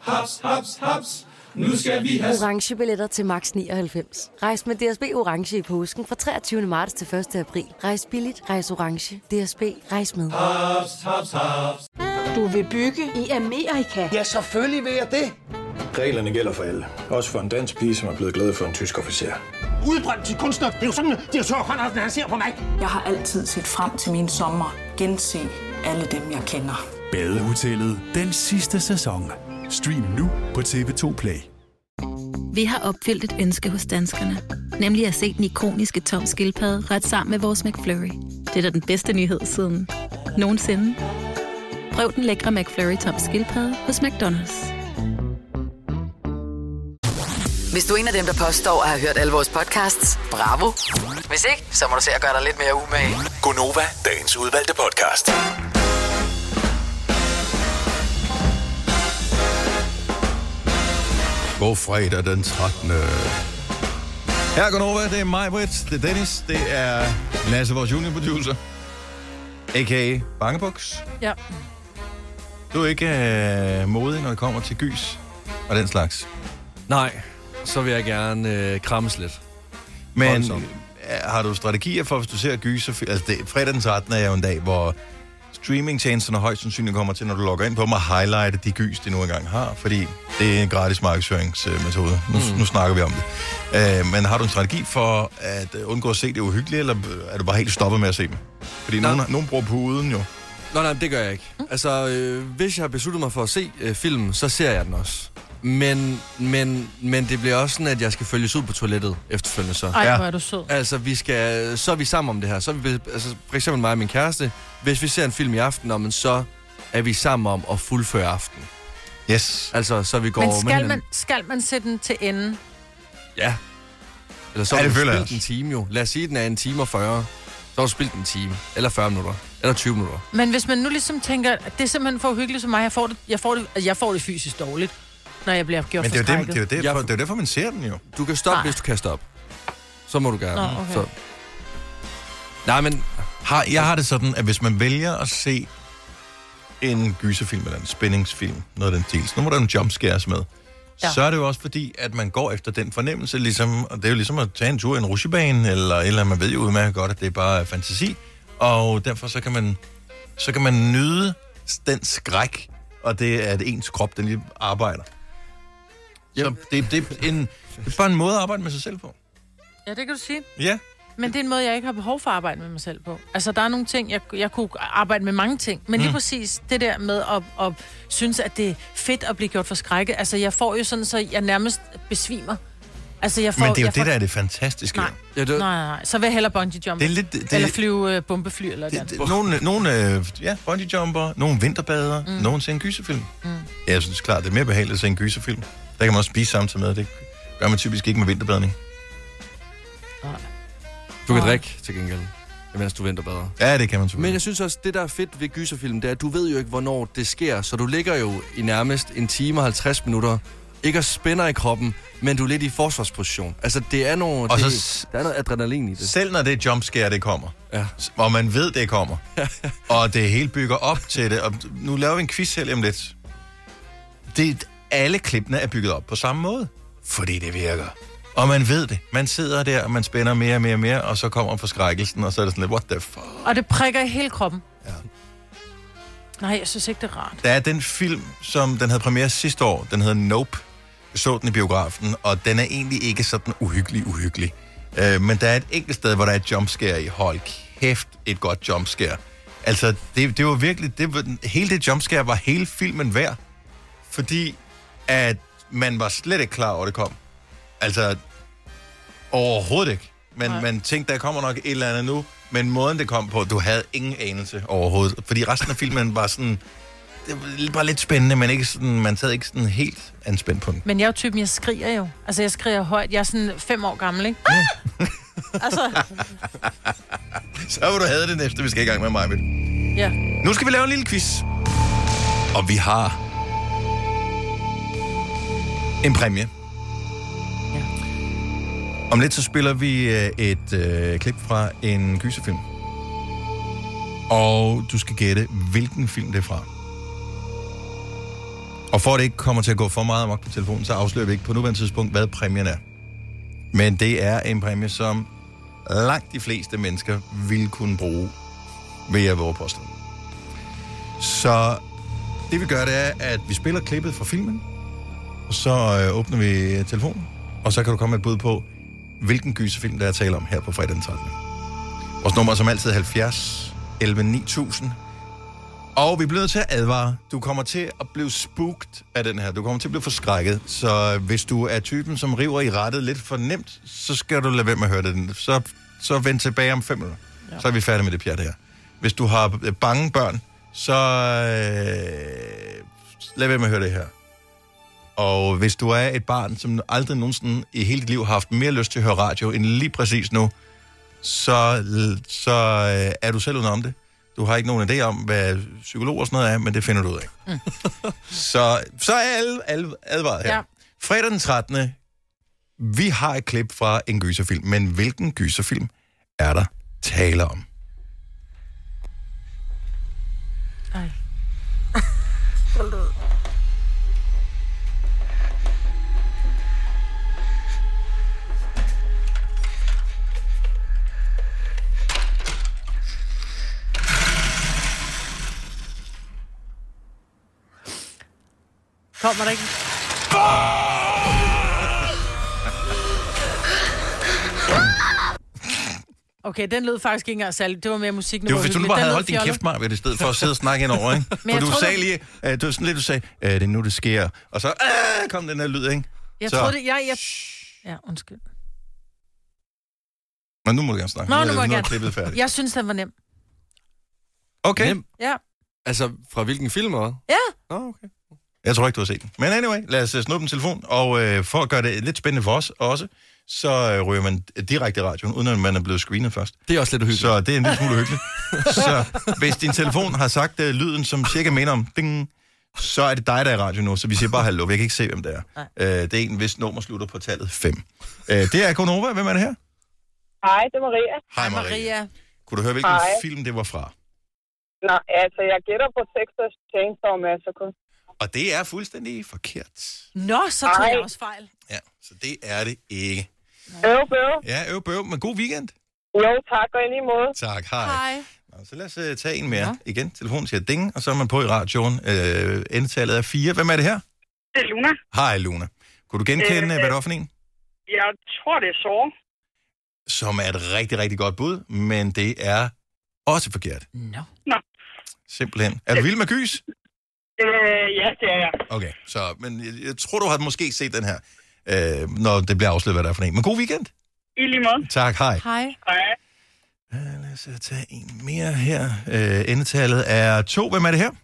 Haps, haps, haps. Nu skal vi have... orange billetter til max 99. Rejs med DSB orange i påsken fra 23. marts til 1. april. Rejs billigt, rejs orange. DSB rejs med. Haps, haps, haps. Du vil bygge i Amerika? Ja, selvfølgelig vil jeg det. Reglerne gælder for alle. Også for en dansk pige, som er blevet glad for en tysk officer. Udbrøndt til kunstner. Det er jo sådan, at de har han ser på mig. Jeg har altid set frem til min sommer. Gense alle dem, jeg [laughs] kender. Badehotellet den sidste sæson. Stream nu på TV2 Play. Vi har opfyldt et ønske hos danskerne. Nemlig at se den ikoniske tom skildpadde ret sammen med vores McFlurry. Det er da den bedste nyhed siden nogensinde. Prøv den lækre McFlurry Tom Skilpadde hos McDonald's. Hvis du er en af dem, der påstår at have hørt alle vores podcasts, bravo. Hvis ikke, så må du se at gøre dig lidt mere umage. Gunova, dagens udvalgte podcast. God fredag den 13. Her går over, det er mig, Britt, det er Dennis, det er Lasse, vores juniorproducer, a.k.a. Bangebuks. Ja. Du er ikke øh, modig, når det kommer til gys og den slags. Nej, så vil jeg gerne øh, krammes lidt. Men Voldsomt. øh, har du strategier for, hvis du ser gyser? Altså, det, fredag den 13. er jo en dag, hvor streamingtjenesterne højst sandsynligt kommer til, når du logger ind på dem, at highlighte de gys, de nu engang har, fordi det er en gratis markedsføringsmetode. Nu, mm. nu snakker vi om det. Øh, men har du en strategi for at øh, undgå at se det uhyggelige, eller øh, er du bare helt stoppet med at se dem? Fordi nogen, nogen bruger puden jo. Nå nej, men det gør jeg ikke. Mm. Altså, øh, hvis jeg har besluttet mig for at se øh, filmen, så ser jeg den også. Men, men, men det bliver også sådan, at jeg skal følges ud på toilettet efterfølgende så. Ej, hvor er du sød. Altså, vi skal, så er vi sammen om det her. Så er vi, altså, for eksempel mig og min kæreste. Hvis vi ser en film i aften, nå, men så er vi sammen om at fuldføre aftenen. Yes. Altså, så vi går Men med skal hinanden. man, skal man sætte den til ende? Ja. Eller så Ja, har det du føler jeg spildt en time jo. Lad os sige, den er en time og 40. Så har du spildt en time. Eller 40 minutter. Eller 20 minutter. Men hvis man nu ligesom tænker, at det er simpelthen for uhyggeligt for mig, jeg får det, jeg får det, jeg får det fysisk dårligt, når jeg bliver gjort Men det er jo det, forskrækket. det, er jo derfor, det er jo derfor, man ser den jo. Du kan stoppe, hvis du kan stoppe. Så må du gerne. Nå, okay. så. Nej, men... Har, jeg har det sådan, at hvis man vælger at se en gyserfilm eller en spændingsfilm, noget af den stil, så nu må der jo en jumpscares med, ja. Ja. så er det jo også fordi, at man går efter den fornemmelse, ligesom, og det er jo ligesom at tage en tur i en rushebane, eller, et eller andet. man ved jo udmærket godt, at det er bare fantasi, og derfor så kan man, så kan man nyde den skræk, og det er, at ens krop, den lige arbejder. Så det, det, er en, det er bare en måde at arbejde med sig selv på. Ja, det kan du sige. Ja. Men det er en måde, jeg ikke har behov for at arbejde med mig selv på. Altså, der er nogle ting, jeg, jeg kunne arbejde med mange ting, men lige Mm. præcis det der med at, at synes, at det er fedt at blive gjort for skrække. Altså, jeg får jo sådan, så jeg nærmest besvimer. Altså, jeg får, Men det er jo jeg det, får, der er det fantastiske. Nej. Ja, Nej, nej, nej. Så vil jeg hellere bungee jump. Det er lidt- det- eller flyve øh, bombefly eller det, andet. Det- Nogle, nogle øh, ja, bungee jumper, nogle vinterbader, mm. nogle ser en gyserfilm. Mm. Ja, jeg synes klart, det er mere behageligt at se en gyserfilm. Der kan man også spise samtidig med, det gør man typisk ikke med vinterbadning. Du kan drikke til gengæld, imens du venter bedre. Ja, det kan man selvfølgelig. Men jeg synes også, det der er fedt ved gyserfilm, det er, at du ved jo ikke, hvornår det sker. Så du ligger jo i nærmest en time og 50 minutter, ikke og spænder i kroppen, men du er lidt i forsvarsposition. Altså, det er nogle, Og det, så- der er noget adrenalin i det. Selv når det jumpscare, det kommer, ja. og man ved, det kommer, og det hele bygger op til det, og nu laver vi en quiz her lige om lidt. Det, alle klippene er bygget op på samme måde, fordi det virker. Og man ved det. Man sidder der, og man spænder mere og mere og mere, og så kommer forskrækkelsen, og så er det sådan lidt, what the fuck? Og det prikker i hele kroppen. Ja. Nej, jeg synes ikke, det er rart. Der er den film, som den havde premiere sidste år. Den hedder Nope. Jeg så den i biografen, og den er egentlig ikke sådan uhyggelig, uhyggelig. Øh, men der er et enkelt sted, hvor der er et jumpscare i. Hold kæft, et godt jumpscare. Altså, det, det var virkelig... Det, var- hele det jumpscare var hele filmen værd. Fordi at man var slet ikke klar over, at det kom. Altså, overhovedet ikke. Men man tænkte, der kommer nok et eller andet nu. Men måden, det kom på, du havde ingen anelse overhovedet. Fordi resten af filmen var sådan det var bare lidt spændende, men ikke sådan, man sad ikke sådan helt anspændt på den. Men jeg er jo typen, jeg skriger jo. Altså, jeg skriger højt. Jeg er sådan fem år gammel, ikke? Ah! altså, Så var du havde det næste, vi skal i gang med mig. ja. Nu skal vi lave en lille quiz. Og vi har en præmie. Om lidt så spiller vi øh, et øh, klip fra en gyserfilm. Og du skal gætte, hvilken film det er fra. Og for at det ikke kommer til at gå for meget amok på telefonen, så afslører vi ikke på nuværende tidspunkt, hvad præmien er. Men det er en præmie, som langt de fleste mennesker vil kunne bruge, vil jeg våge påstå. Så det vi gør, det er, at vi spiller klippet fra filmen, og så øh, åbner vi øh, telefonen, og så kan du komme med et bud på, hvilken gyserfilm, der er tale om her på fredag den 13. Vores nummer er som altid 70 11 9000. Og vi bliver nødt til at advare. Du kommer til at blive spugt af den her. Du kommer til at blive forskrækket. Så øh, hvis du er typen, som river i rettet lidt for nemt, så skal du lade være med at høre det. Så, så vend tilbage om fem minutter. Ja. Så er vi færdige med det pjat her. Hvis du har øh, bange børn, så øh, lad være med at høre det her. Og hvis du er et barn, som aldrig nogensinde i hele dit liv har haft mere lyst til at høre radio end lige præcis nu, så, så øh, er du selv udenom det. Du har ikke nogen idé om, hvad psykologer og sådan noget er, men det finder du ud af. Mm. [laughs] så, så er alle, alle advaret her. Ja. Fredag den 13. Vi har et klip fra en gyserfilm, men hvilken gyserfilm er der tale om? Hold ud. Kommer der ikke? Okay, den lød faktisk ikke engang særlig. Det var mere musikken. Det var, hvis du nu bare havde holdt din kæft, fjollet. Marvind, i stedet for at [laughs] sidde og snakke ind over, ikke? Men For jeg du troede- sagde lige, øh, det var sådan lidt, du sagde, øh, det er nu, det sker. Og så øh, kom den der lyd, ikke? Jeg så, troede det... Jeg, jeg... Ja, undskyld. Men nu må du gerne snakke. Nå, er- nu må jeg er gerne. klippet færdigt. Jeg synes, den var nem. Okay. Ja. Altså, fra hvilken film også? Ja. Oh, okay. Jeg tror ikke, du har set den. Men anyway, lad os øh, snuppe en telefon, og øh, for at gøre det lidt spændende for os også, så øh, ryger man direkte i radioen, uden at man er blevet screenet først. Det er også lidt uhyggeligt. Så det er en lille smule [laughs] hyggeligt. så hvis din telefon har sagt øh, lyden, som cirka minder om ding, så er det dig, der er i radio nu, så vi siger bare hallo. Jeg kan ikke se, hvem det er. Øh, det er en, hvis nummer slutter på tallet 5. Øh, det er Gunova. Hvem er det her? Hej, det er Maria. Hej, Maria. Kunne du høre, hvilken Hej. film det var fra? Nå, altså, jeg gætter på Texas Chainsaw Massacre. Og det er fuldstændig forkert. Nå, så tog Ej. jeg også fejl. Så det er det ikke. Øv, bøv. Ja, øv bøv, men god weekend. Jo, tak, og i lige måde. Tak, hej. Nå, så lad os uh, tage en mere. Ja. Igen, telefonen siger ding, og så er man på i radioen. Øh, endetallet er 4. Hvem er det her? Det er Luna. Hej, Luna. Kunne du genkende, øh, Øh, hvad det var for en? Jeg tror, det er sår. Som er et rigtig, rigtig godt bud, men det er også forkert. Nå. Nå. Simpelthen. Er du vild med gys? Øh, ja, det er jeg. Okay, så, men jeg, jeg tror, du har måske set den her, øh, når det bliver afsløret, hvad der er for en. Men god weekend. I lige måde. Tak, hej. Hej. Hej. Lad os øh, tage en mere her. Øh, endetallet er 2. Hvem er det her? Det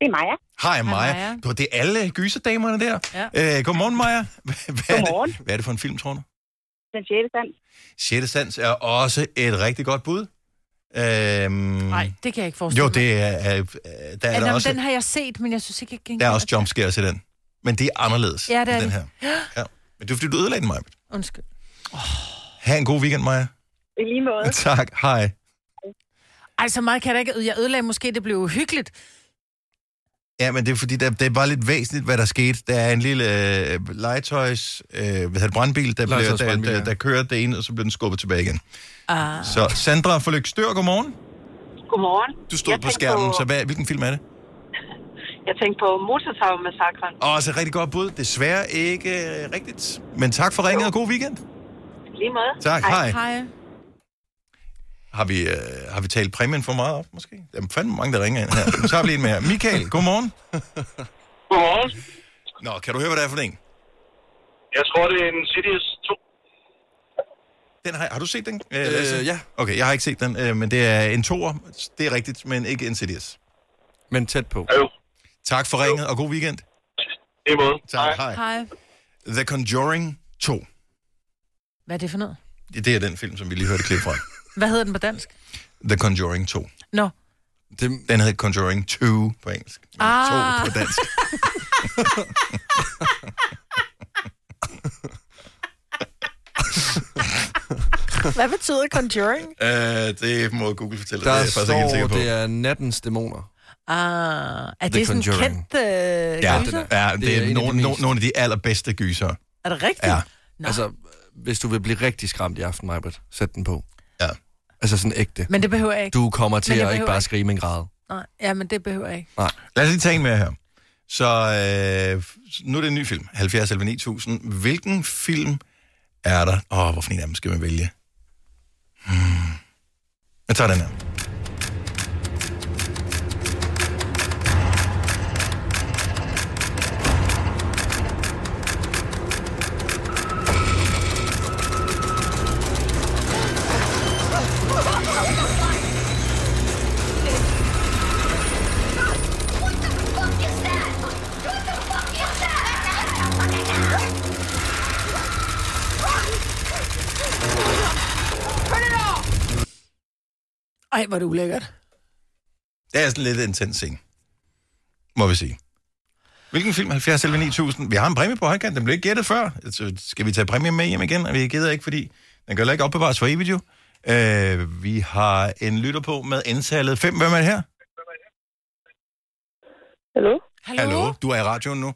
er Maja. Hej, Maja. Maja. Du, det er alle gyserdamerne der. Ja. Øh, godmorgen, Maja. Hvad, hvad, er det, hvad er det for en film, tror du? Den sjette sans. Sjette Sands er også et rigtig godt bud. Øhm, Nej, det kan jeg ikke forestille jo, mig. det er, er, er der Ja, er der nå, men også, Den har jeg set, men jeg synes ikke, jeg der er også jumpscares i den. Men det er anderledes Ja, det er end den det. her. Ja. Men det er fordi, du ødelagde den, Maja. [gasps] Undskyld. Ha' en god weekend, Maja. I lige måde. [laughs] Tak, hej. Ej, så meget kan jeg da ikke. Jeg ødelagde måske, det blev uhyggeligt. Ja, men det er fordi, der, det er bare lidt væsentligt, hvad der skete. Der er en lille øh, legetøjs, øh, hvad hedder det, brandbil, der, bliver, der, Legetøjsbrandbil, der, ja. der kører det ene, og så bliver den skubbet tilbage igen. Ah. Så Sandra fra Lykstør, godmorgen. Godmorgen. Du stod Jeg på tænkte skærmen, på- så hvad, hvilken film er det? Jeg tænkte på Motortav-massakren. Og også et rigtig godt bud. Desværre ikke øh, rigtigt. Men tak for ringet, og god weekend. Lige måde. Tak, hej. Hej. Har vi, øh, har vi talt præmien for meget op, måske? Der er fandme mange, der ringer ind her. Nu tager vi lige en mere. Michael, godmorgen. Godmorgen. Nå, kan du høre, hvad det er for en? Jeg tror, det er en Sidious 2. Den har, har du set den? Øh, Lasse? ja. Okay, jeg har ikke set den, øh, men det er en toer. Det er rigtigt, men ikke Insidious. Men tæt på. Jo. Tak for ringet, og god weekend. Det måde. Tak, hej. Hej. The Conjuring 2. Hvad er det for noget? Det er den film, som vi lige hørte et klip fra. Hvad hedder den på dansk? The Conjuring 2. [laughs] Nå. Den, den hed Conjuring 2 på engelsk. Ah. To på dansk. Hvad betyder conjuring? Øh, det må Google fortælle. Der det er det jeg faktisk ikke helt står, sikker på. det er nattens dæmoner. Ah, er The det sådan en Conjuring. kendt øh, Ja, gyser? ja, det, Det er en er, af de nogle, no, mest- nogle af de allerbedste gyser. Er det rigtigt? Ja. Nå. Altså, hvis du vil blive rigtig skræmt i aften, Majbert, sæt den på. Ja. Altså sådan ægte. Men det behøver jeg ikke. Du kommer Men til jeg at ikke behøver bare skrige med en grad. Nej, ja, men det behøver jeg ikke. Nej. Lad os lige tage en med her. Så øh, nu er det en ny film. 70 11 9000. Hvilken film er der? Åh, oh, hvorfor en af dem skal man vælge? Hmm. Jeg tager den her. Ej, hvor er det ulækkert. Det er sådan lidt intens scene, må vi sige. Hvilken film? 70 eller 9000? Vi har en præmie på højkant, den blev ikke gættet før. Så skal vi tage præmien med hjem igen? Og Vi gider ikke, fordi den kan heller ikke opbevares for evigt jo. Øh, vi har en lytter på med indtallet 5. Hvem er det her? Hallo? Hallo? Hallo? Du er i radioen nu.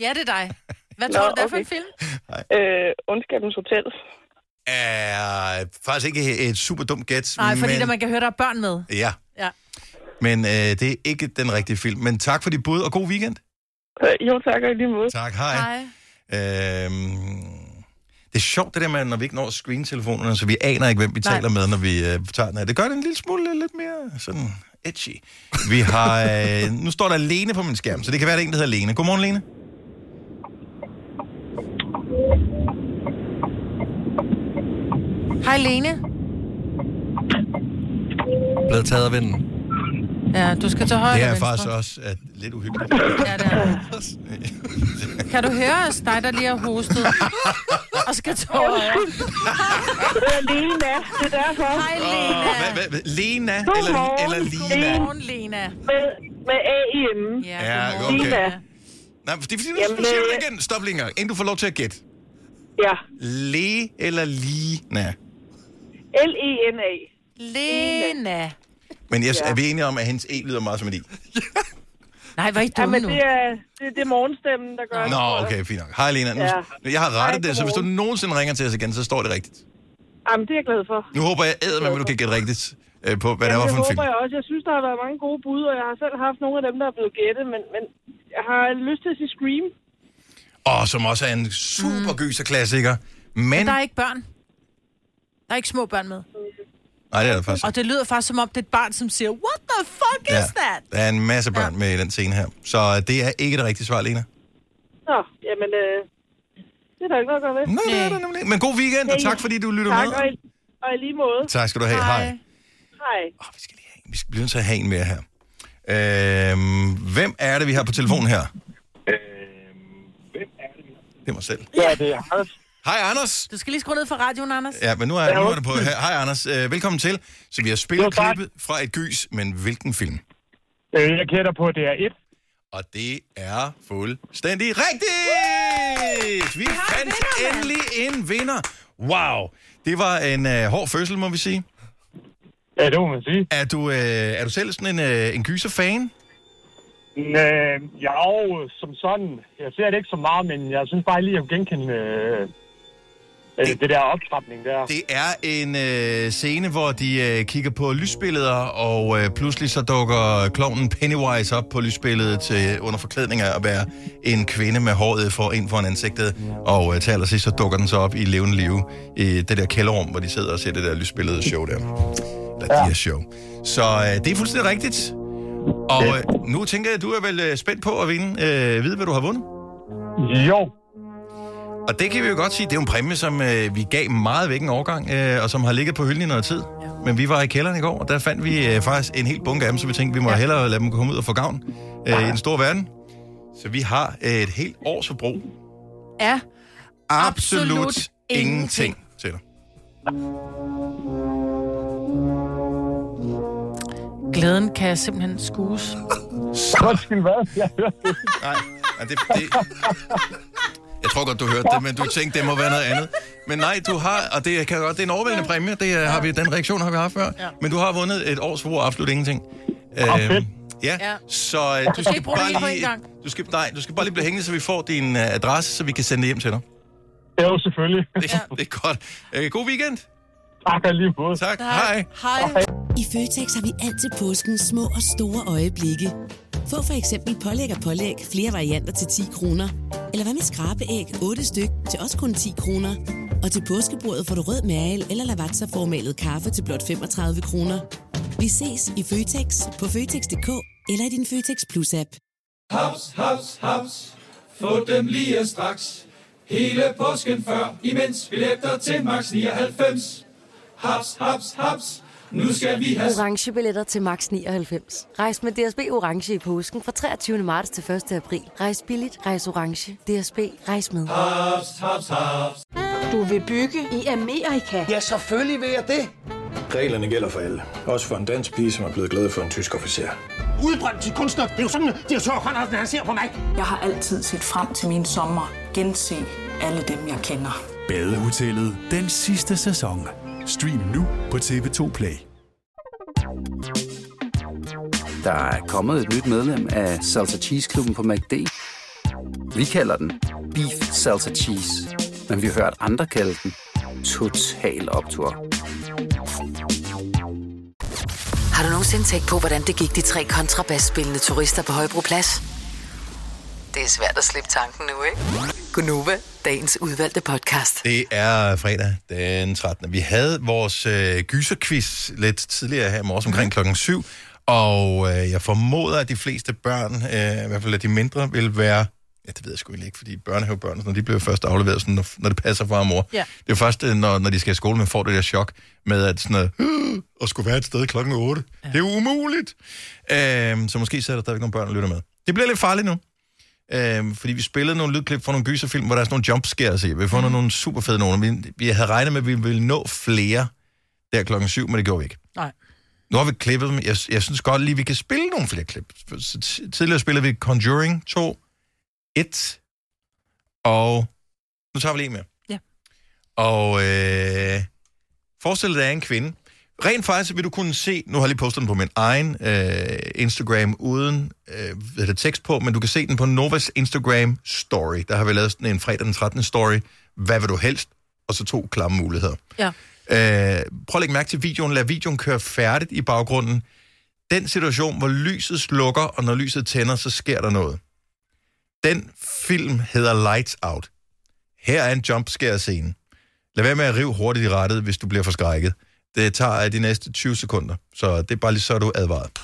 Ja, det er dig. Hvad Nå, tror du, det er for en okay. film? Øh, Undskabens Hotel. Er faktisk ikke et super dumt gæt. Nej, fordi Altså, men... der man kan høre, der er børn med. Ja, Ja. men øh, det er ikke den rigtige film. Men tak for dit bud, og god weekend. Øh, jo, tak og i lige måde. Tak, hej. Øhm, det er sjovt, det der med, når vi ikke når screentelefonerne, så vi aner ikke, hvem vi Nej. Nej. taler med, når vi øh, tager den af. Det gør det en lille smule øh, lidt mere sådan edgy. Vi har... Øh, nu står der Lene på min skærm, så det kan være, det er en, der hedder Lene. Godmorgen, Lene. Hej, Lene. Blevet taget af vinden. Ja, du skal tage højre Det er eller faktisk venstre. også øh, lidt uhyggeligt. Ja, det [laughs] er. Kan du høre os, dig der lige har hostet? Og skal tage [laughs] over. Det er Lena, det er derfor. Hej, Lena. Hvad, hvad, hvad, Lena eller, Godmorgen, eller Lina? Godmorgen, Lena. Med, med A i hjemme. Ja, okay. Lina. Nej, det er fordi, nu Jamen, siger du øh, det igen. Stop lige en gang, inden du får lov til at gætte. Ja. Le eller E Lina? L-E-N-A. Lena. Men jeg, Ja. er vi enige om, at hendes E lyder meget som et I? Nej, hvor er I Ja, dumme men nu? det er, det, det er morgenstemmen, der gør det. Nå, okay, fint nok. Hej, Lena. Nu, Ja. Jeg har rettet Hej, det, så hvis du godmorgen. nogensinde ringer til os igen, så står det rigtigt. Jamen, det er jeg glad for. Nu håber jeg æder med, at du kan gætte rigtigt øh, på, hvad det Jamen, var for en det film. håber jeg også. Jeg synes, der har været mange gode bud, og jeg har selv haft nogle af dem, der er blevet gættet, men, men jeg har lyst til at sige Scream. Og som også er en super gyserklassiker. Men... Men der Mm. er ikke børn. Der er ikke små børn med. Nej, det er der faktisk. Og det lyder faktisk, som om det er et barn, som siger, what the fuck Ja. is that? Der er en masse børn med i den scene her. Så øh, det er ikke det rigtige svar, Lena. Nå, jamen, øh, det er der ikke noget at gøre ved. Nå, det er der nemlig ikke. Men god weekend, og tak fordi du lytter tak, med. Og i, og i lige måde. Tak skal du have. Hej. Hej. Vi skal blive nødt til at have en mere her. Øhm, hvem er det, vi har på telefonen Øhm, her? Det er mig selv. Ja, det er Anders. Hej, Anders. Du skal lige skrue ned for radioen, Anders. Ja, men nu er, nu er det på. her. Hej, Anders. Øh, velkommen til. Så vi har spillet klippet fra et gys, men hvilken film? Øh, Jeg gætter på, at det er et. Og det er fuldstændig rigtigt! Vi fandt endelig en vinder. Wow. Det var en øh, hård fødsel, må vi sige. Ja, det må man sige. Er du, øh, er du selv sådan en, øh, en gyser-fan? Øh, jeg er jo som sådan, jeg ser det ikke så meget, men jeg synes bare lige at genkende øh, altså, øh, det, det der optrapning der. Det er en øh, scene, hvor de øh, kigger på lysbilleder, og øh, pludselig så dukker klovnen Pennywise op på lysbilledet til, under forklædning af at være en kvinde med håret for ind foran ansigtet. Og øh, til allersidst så dukker den så op i levende live i det der kælderrum, hvor de sidder og ser det der lysbillede show der. Eller ja. de her show. Så øh, det er fuldstændig rigtigt. Og øh, nu tænker jeg, at du er vel øh, spændt på at vinde, øh, vide, hvad du har vundet? Jo. Og det kan vi jo godt sige, det er jo en præmie, som øh, vi gav meget væk en overgang, øh, og som har ligget på hylden i noget tid. Men vi var i kælderen i går, og der fandt vi øh, faktisk en hel bunke af dem, så vi tænkte, vi må hellere lade dem komme ud og få gavn øh, i den store verden. Så vi har øh, et helt års forbrug. Ja. Absolut, Absolut ingenting. til dig. Glæden kan simpelthen [laughs] skues. Undskyld, hvad? Jeg hørte det. Nej, nej det, det... Jeg tror godt, du hørte det, men du tænkte, det må være noget andet. Men nej, du har, og det, kan jeg godt, det er en overvældende præmie, det øh, har vi, den reaktion har vi haft før, Ja. men du har vundet et års forbrug af absolut ingenting. Øhm, Ah, fedt. ja, Ja. så øh, Du du skal skal ikke bruge det hele på bare en lige, gang. du skal, nej, du skal bare lige blive hængende, så vi får din øh, adresse, så vi kan sende det hjem til dig. Jo, selvfølgelig. Det, det er godt. Øh, god weekend. Tak og lige måde. Tak. Hej. Hej. I Føtex har vi altid påsken små og store øjeblikke. Få for eksempel pålæg og pålæg flere varianter til 10 kroner. Eller hvad med skrabeæg 8 styk til også kun 10 kroner. Og til påskebordet får du rød mal eller lavatserformalet kaffe til blot 35 kroner. Vi ses i Føtex på Føtex.dk eller i din Føtex Plus-app. Haps, haps, haps. Få dem lige straks. Hele påsken før, imens billetter til max 99. Haps, haps, haps. Nu skal vi have... Orange billetter til max 99. Rejs med DSB Orange i påsken fra 23. marts til 1. april. Rejs billigt, rejs orange. DSB, rejs med. Haps, haps, haps. Du vil bygge i Amerika? Ja, selvfølgelig vil jeg det. Reglerne gælder for alle. Også for en dansk pige, som er blevet glad for en tysk officer. Udbrøndt til kunstner. Det er jo sådan, at de har tørt, han, han ser på mig. Jeg har altid set frem til min sommer. Gense alle dem, jeg kender. Badehotellet den sidste sæson. Stream nu på TV2 Play. Der er kommet et nyt medlem af Salsa Cheese Klubben på MACD. Vi kalder den Beef Salsa Cheese, men vi har hørt andre kalde den Total Optor. Har du nogensinde tænkt på, hvordan det gik de tre kontrabasspillende turister på Højbroplads? Det er svært at slippe tanken nu, ikke? Gunova, dagens udvalgte podcast. Det er fredag den 13. Vi havde vores øh, gyserquiz lidt tidligere her i morges omkring klokken 7, og øh, jeg formoder, at de fleste børn, øh, i hvert fald at de mindre, vil være... Ja, det ved jeg sgu egentlig ikke, fordi børnehavebørn, når de bliver først afleveret, sådan, når, når det passer far og mor. Ja. Det er jo først, øh, når, når de skal i skole, man får det der chok med at sådan noget, "Øh, at skulle være et sted klokken 8. Ja. Det er umuligt. Øh, så måske sidder der stadigvæk nogle børn og lytter med. Det bliver lidt farligt nu. Øh, fordi vi spillede nogle lydklip fra nogle gyserfilm, hvor der er sådan nogle jumpscares i. Vi har fundet nogle super fede nogle. Vi, vi havde regnet med, at vi ville nå flere der klokken 7, men det gjorde vi ikke. Nej. Nu har vi klippet dem. Jeg, jeg synes godt lige, vi kan spille nogle flere klip. Så t- Tidligere spillede vi Conjuring 2, 1, og nu tager vi lige med. Ja. Og øh, forestil dig, at jeg er en kvinde. Rent faktisk vil du kunne se, nu har jeg lige postet den på min egen øh, Instagram uden øh, hvad hedder det, tekst på, men du kan se den på Novas Instagram story. Der har vi lavet sådan en fredag den 13. story. Hvad vil du helst? Og så to klamme muligheder. Ja. [laughs] Øh, prøv at lægge mærke til videoen. Lad videoen køre færdigt i baggrunden. Den situation, hvor lyset slukker, og når lyset tænder, så sker der noget. Den film hedder Lights Out. Her er en jumpscare-scene. Lad være med at rive hurtigt i rettet, hvis du bliver forskrækket. Det tager øh, de næste 20 sekunder, så det er bare lige så, er du er advaret.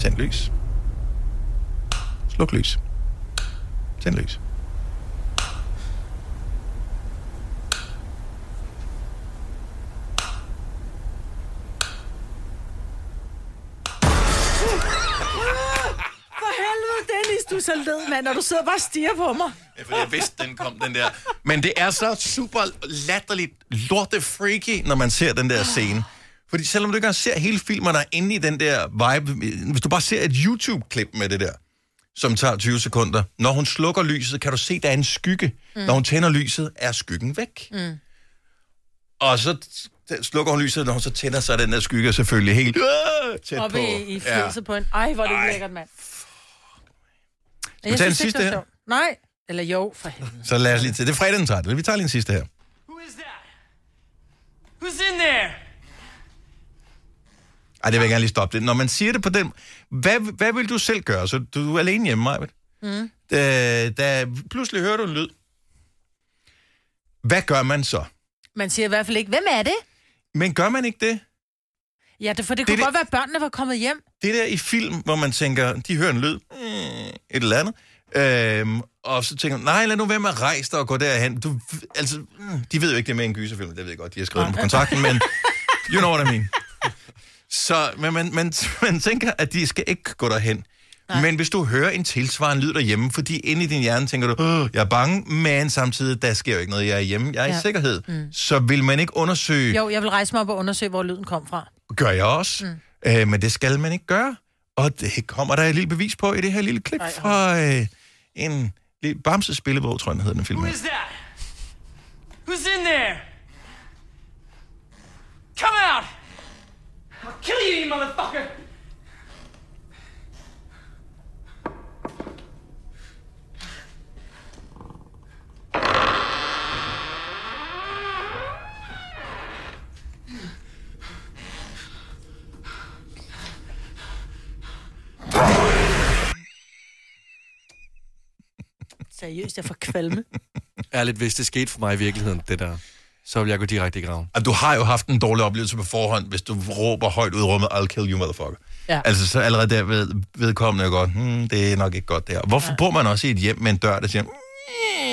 Tænd lys. Sluk lys. Tænd lys. For helvede, Dennis, du er så led, mand, og du sidder bare og stiger på mig. Fordi jeg vidste, den kom, den der. Men det er så super latterligt lorte freaky, når man ser den der scene. Fordi selvom du ikke engang ser hele filmen, der er inde i den der vibe, hvis du bare ser et YouTube-klip med det der, som tager 20 sekunder. Når hun slukker lyset, kan du se, der er en skygge. Mm. Mm. Når hun tænder lyset, er skyggen væk. Mm. Og så t- slukker hun lyset, når hun så tænder, så er den der skygge selvfølgelig helt øh, tæt Oppe på. i, i fjeset ja. på en. Ej, hvor er det ikke lækkert, mand. vi tage den sidste det var her? sjovt. Nej. Eller jo, for helvede. Så lad os lige til. Det er fredag den 13. Vi tager lige den sidste her. Who's in there? Ej, det vil jeg gerne lige stoppe det. Når man siger det på den... Hvad, hvad vil du selv gøre? Så du, du er alene hjemme, Maja. Mm. Da, da pludselig hører du en lyd. Hvad gør man så? Man siger i hvert fald ikke, hvem er det? Men gør man ikke det? Ja, det, for det, Det det er det- kunne det... godt være, at børnene var kommet hjem. Det der i film, hvor man tænker, de hører en lyd, mm, et eller andet, øhm, og så tænker man, nej, lad nu være med at rejse dig og gå derhen. Du, altså, mm, de ved jo ikke, det er med en gyserfilm, det ved jeg godt, de har skrevet dem på kontrakten, men you know what I mean. Så men man, man, man tænker, at de skal ikke gå derhen. Nej. Men hvis du hører en tilsvarende lyd derhjemme, fordi inde i din hjerne tænker du, "Åh, jeg er bange, men samtidig, der sker jo ikke noget, jeg er hjemme, jeg er ja. i Ja. sikkerhed. Mm. Mm. Så vil man ikke undersøge, Jo, jeg vil rejse mig op og undersøge, hvor lyden kom fra. gør jeg også, mm. øh, men det skal man ikke gøre. Og det kommer der et lille bevis på i det her lille klip Ej, fra øh, en lille Bamses spillebog, tror jeg, den hedder den film. Who her. is that? Who's in there? Come out! I'll kill you, you motherfucker! Seriøst, jeg får kvalme. Ærligt, hvis det skete for mig i virkeligheden, det der, så ville jeg gå direkte i graven. Og du har jo haft en dårlig oplevelse på forhånd, hvis du råber højt ud i rummet, I'll kill you, motherfucker. Ja. Altså, så allerede der ved, vedkommende er godt, hmm, det er nok ikke godt der. Hvorfor [laughs] ja. bor man også i et hjem med en dør, der siger,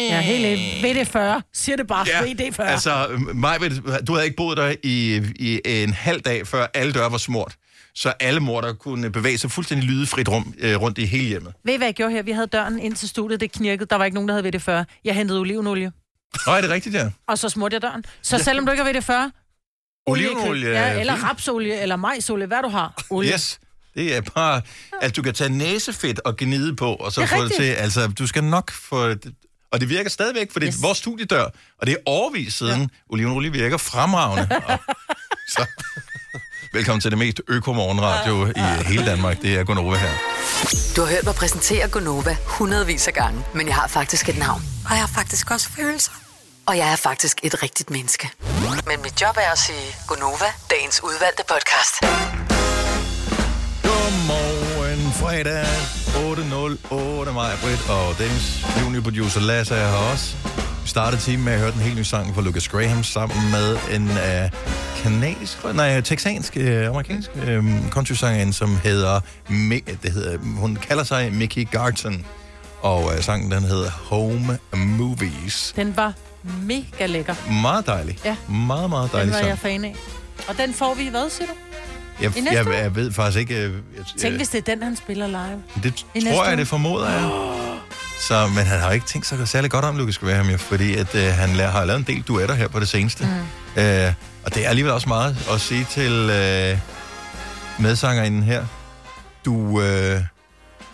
Jeg er helt enig. VD40. Siger det bare. Ja, VD40. Altså, Majbet, du havde ikke boet der i, i en halv dag, før alle døre var smurt. Så alle morder kunne bevæge sig fuldstændig lydefrit rum øh, rundt i hele hjemmet. Ved I, hvad jeg gjorde her? Vi havde døren ind til studiet, det knirkede. Der var ikke nogen, der havde VD40. Jeg hentede olivenolie, Nå, er det rigtigt, ja? og så smurte jeg døren. Så selvom du ikke har VD40, Olivenolie. øh, ja, eller rapsolie, eller majsolie, hvad du har. Olie. Yes. Det er bare, at du kan tage næsefedt og gnide på, og så Det er få det rigtigt. til, altså du skal nok få det. Og det virker stadigvæk, for det er yes. vores studiedør, og det er årvis siden, ja. olivenolie virker fremragende. [laughs] og, så, velkommen til det mest øko-morgenradio i hele Danmark. Det er Gunova her. Du har hørt mig præsentere Gonova hundredvis af gange, men jeg har faktisk et navn. Og jeg har faktisk også følelser. Og jeg er faktisk et rigtigt menneske. Men mit job er at sige Gonova, dagens udvalgte podcast. Godmorgen, fredag 8.08, mig, Britt og Dennis. Junior producer Lasse er her også. Vi startede timen med at høre den helt nye sang fra Lucas Graham sammen med en øh, kanadisk, nej, texansk, øh, amerikansk øh, country-sangerinde, som hedder, Mi- det hedder, hun kalder sig Mickey Garton. Og øh, sangen, den hedder Home Movies. Den var mega lækker. Meget dejlig. Ja. Meget, meget Den dejlig var sang. jeg fan af. Og den får vi, hvad siger du? Jeg, I næste jeg, uge? jeg, ved faktisk ikke... øh, Jeg, Tænk, øh, hvis det er den, han spiller live. Det I næste tror uge. jeg, det formoder jeg. Så, men han har jo ikke tænkt sig særlig godt om Lucas Graham, jo, fordi at, øh, han la- har lavet en del duetter her på det seneste. Mm. Øh, og det er alligevel også meget at sige til øh, medsangerinden her. Du, øh,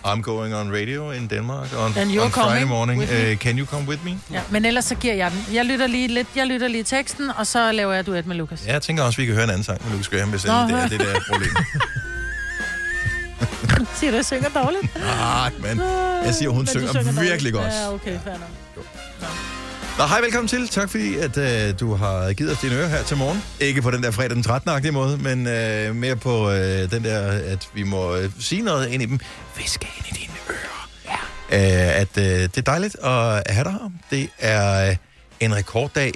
I'm going on radio in Denmark on, And you're on Friday coming morning. with me. Uh, can you come with me? Ja, men ellers så giver jeg den. Jeg lytter lige lidt, jeg lytter lige teksten, og så laver jeg duet med Lukas. Ja, jeg tænker også, vi kan høre en anden sang med Lucas Graham, hvis det Nå, er hør. det, der er problemet. [laughs] Siger du, jeg synger dårligt? Ah, men [laughs] jeg siger, hun Men du synger, dårligt. virkelig godt. Ja, okay, fair nok. Nå, hej, velkommen til. Tak fordi, at øh, du har givet os dine ører her til morgen. Ikke på den der fredag den 13-agtige måde, men øh, mere på øh, den der, at vi må øh, sige noget ind i dem. Viske ind i dine ører. Ja. Øh, at øh, det er dejligt at have dig her. Det er øh, en rekorddag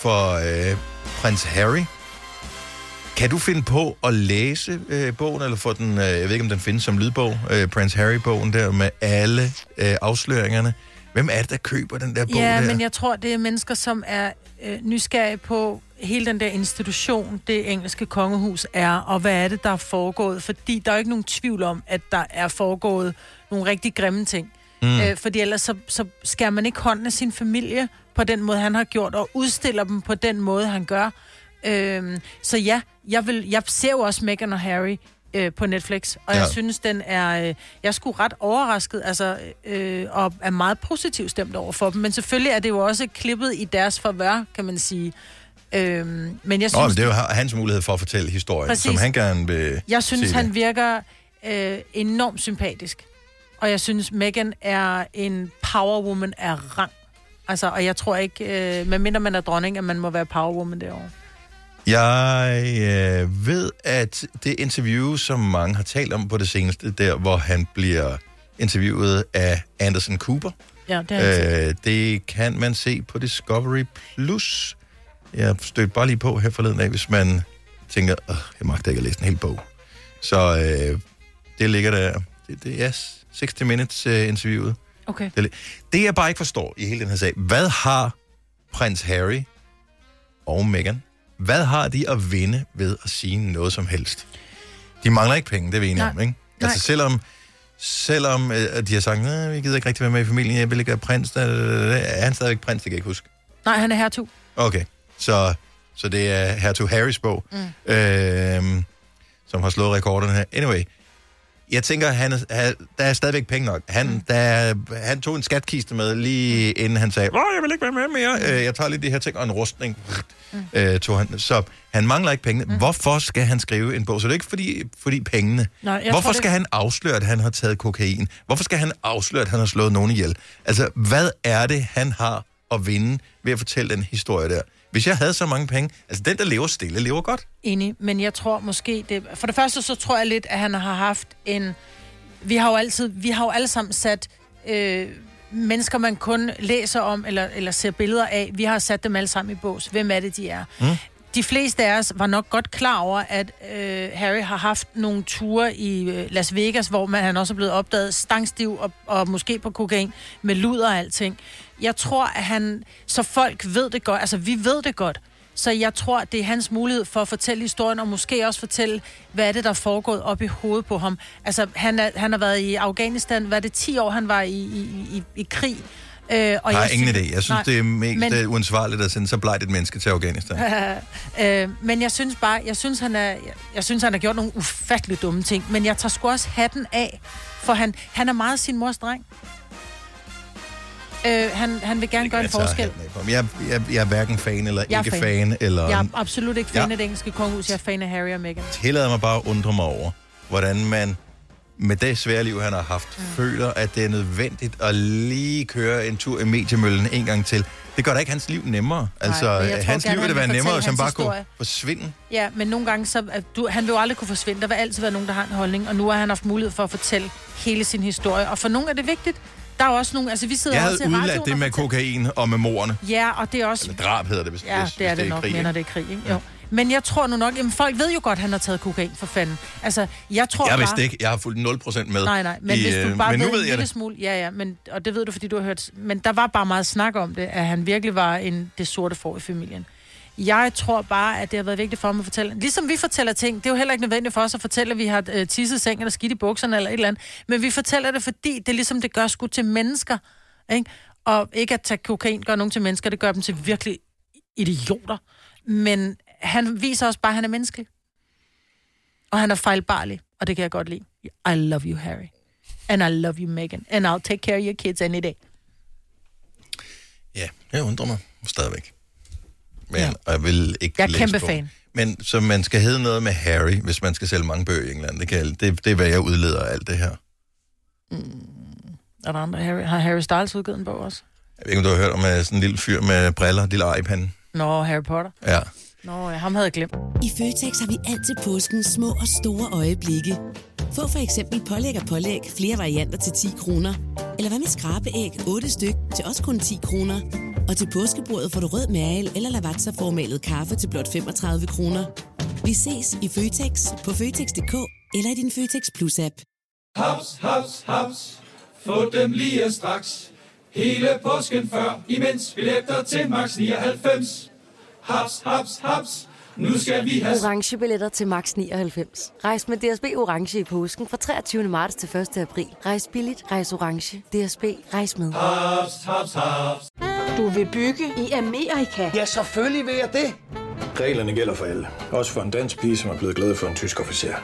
for øh, prins Harry. Kan du finde på at læse øh, bogen, eller få den, øh, jeg ved ikke om den findes som lydbog, øh, Prince Harry-bogen der med alle øh, afsløringerne? Hvem er det, der køber den der bog Ja, der? men jeg tror, det er mennesker, som er øh, nysgerrige på hele den der institution, det engelske kongehus er, og hvad er det, der er foregået? Fordi der er jo ikke nogen tvivl om, at der er foregået nogle rigtig grimme ting. Mm. Mm. Øh, fordi ellers så, så skærer man ikke hånden af sin familie på den måde, han har gjort, og udstiller dem på den måde, han gør. Øhm, så ja, jeg, vil, jeg ser jo også Meghan og Harry øh, på Netflix, og ja. Ja. jeg synes, den er... Øh, jeg skulle ret overrasket, altså, øh, og er meget positivt stemt over for dem. Men selvfølgelig er det jo også klippet i deres forvør, kan man sige. Øhm, men jeg synes, Nå, men det er jo hans mulighed for at fortælle historien, Præcis. Præcis. som han gerne vil jeg synes sige han det. virker øh, enormt sympatisk. Og jeg synes, Megan er en powerwoman af rang. Altså, og jeg tror ikke, øh, medmindre man er dronning, at man må være powerwoman derovre. Jeg øh, ved, at det interview, som mange har talt om på det seneste, der hvor han bliver interviewet af Anderson Cooper, Ja, det er øh, øh, det kan man se på Discovery+. Plus. Jeg stødte bare lige på her forleden af, hvis man tænker, Åh, jeg magter ikke at læse en hel bog. Så øh, det ligger der. Det, det er 60 Minutes øh, interviewet. Okay. Det, det jeg bare ikke forstår i hele den her sag, hvad har prins Harry og Meghan, hvad har de at vinde ved at sige noget som helst? De mangler ikke penge, det er vi enige Nej. om, ikke? Nej. Altså selvom, selvom øh, at de har sagt, nej, vi gider ikke rigtig være med i familien, jeg vil ikke være prins, da, da, da, da. er han stadigvæk prins, det kan jeg ikke huske. Nej, han er hertug. Okay, så, så det er Hertug Harrys bog, mm. øh, som har slået rekorderne her. Anyway, jeg tænker, han er, han- der er stadigvæk penge nok. Han, mm. der, han tog en skatkiste med, lige inden han sagde, Åh, jeg vil ikke være med mere, øh, jeg tager lige de her ting, og en rustning mm. øh, tog han. Så han mangler ikke pengene. Mm. Hvorfor skal han skrive en bog? Så det er ikke fordi, fordi pengene. Nej, jeg Hvorfor tror, det- skal han afsløre, at han har taget kokain? Hvorfor skal han afsløre, at han har slået nogen ihjel? Altså, hvad er det, han har at vinde ved at fortælle den historie der? Hvis jeg havde så mange penge, altså den, der lever stille, lever godt. Enig, men jeg tror måske det... For det første så tror jeg lidt, at han har haft en... Vi har jo altid... Vi har jo alle sammen sat øh, mennesker, man kun læser om eller, eller ser billeder af. Vi har sat dem alle sammen i bås. Hvem er det, de er? Mm. de fleste af os var nok godt klar over, at øh, Harry har haft nogle ture i øh, Las Vegas, hvor man, han også er blevet opdaget stangstiv og, og måske på kokain med luder og alting. Jeg tror, at han... Så folk ved det godt. Altså, vi ved det godt. Så jeg tror, det er hans mulighed for at fortælle historien, og måske også fortælle, hvad er det, der er foregået op i hovedet på ham. Altså, han, er, han har været i Afghanistan, hvad er det, 10 år, han var i, i, i, i krig. Øh, Og Nej, ingen synes- idé. Jeg synes, Nej, Nej, det er mest men- men... uansvarligt at sende så blejt et menneske til Afghanistan. [laughs] øh, men jeg synes bare, jeg synes, han er, jeg synes, han har gjort nogle ufattelig dumme ting, men jeg tager sgu også hatten af, for han, han er meget sin mors dreng. Øh, han, han vil gerne gøre en Altså, Jeg tager forskel. hatten af for ham. Jeg, jeg, jeg er hverken fan eller Jeg er ikke fan. eller... Jeg er absolut ikke fan Ja. af det engelske kongehus, jeg er fan af Harry og Meghan. tillader mig bare at undre mig over, hvordan man med det svære liv, han har haft, mm. føler, at det er nødvendigt at lige køre en tur i mediemøllen en gang til. Det gør da ikke hans liv nemmere. Altså, men jeg Nej, tror hans gerne, liv ville han være vil nemmere, fortælle hvis han hans bare historie. kunne forsvinde. Ja, men nogle gange, så at du, han vil jo aldrig kunne forsvinde. Der vil altid være nogen, der har en holdning, og nu har han haft mulighed for at fortælle hele sin historie. Og for nogle er det vigtigt. Der er jo også nogle, altså vi sidder Jeg havde også i udladt radioen. det med kokain og med morerne. og- Ja, og det er også... Eller drab hedder det, hvis, Ja, hvis, det er hvis det, det nok, krig, mener det er ikke? krig, ikke? Jo. Men jeg tror nu nok, jamen folk ved jo godt, at han har taget kokain, for fanden. Altså, jeg tror Jeg bare... vidste ikke, jeg har fulgt 0% med. Nej, nej, men i, hvis du øh, bare men nu ved, ved en jeg lille det. smule... Ja, ja, men, og det ved du, fordi du har hørt... Men der var bare meget snak om det, at han virkelig var en, det sorte får i familien. Jeg tror bare, at det har været vigtigt for mig at fortælle. Ligesom vi fortæller ting, det er jo heller ikke nødvendigt for os at fortælle, at vi har øh, tisset i sengen eller skidt i bukserne eller et eller andet. Men vi fortæller det, fordi det er ligesom det gør sgu til mennesker. Ikke? Og ikke at tage kokain gør nogen til mennesker, det gør dem til virkelig idioter. Men han viser også bare, at han er menneskelig. Og han er fejlbarlig, og det kan jeg godt lide. I love you, Harry. And I love you, Megan. And I'll take care of your kids any day. Ja, jeg undrer mig stadigvæk. Men ja. jeg vil ikke Jeg er læse kæmpe på. fan. Men så man skal hedde noget med Harry, hvis man skal sælge mange bøger i England. Det, kan, jeg- det, det er, hvad jeg udleder af alt det her. Er der andre Harry? Har Harry Styles udgivet en bog også? Jeg ved ikke, om du har hørt om øh, sådan en lille fyr med briller, en lille ejpande. Nå, Harry Potter. Ja. Nå, ja, ham havde jeg glemt. I Føtex har vi altid påsken små og store øjeblikke. Få for eksempel pålæg og pålæg flere varianter til 10 kroner. Eller hvad med skrabeæg 8 styk til også kun 10 kroner. Og til påskebordet får du rød mal eller lavatserformalet kaffe til blot 35 kroner. Vi ses i Føtex på Føtex.dk eller i din Føtex Plus-app. Haps, haps, haps. Få dem lige straks. Hele påsken før, imens billetter til max 99. Haps, haps, haps. Nu skal vi have... Orange billetter til max 99. Rejs med DSB Orange i påsken fra 23. marts til 1. april. Rejs billigt, rejs orange. DSB, rejs med. Hops, hops, hops. Du vil bygge i Amerika? Ja, selvfølgelig vil jeg det. Reglerne gælder for alle. Også for en dansk pige, som er blevet glad for en tysk officer.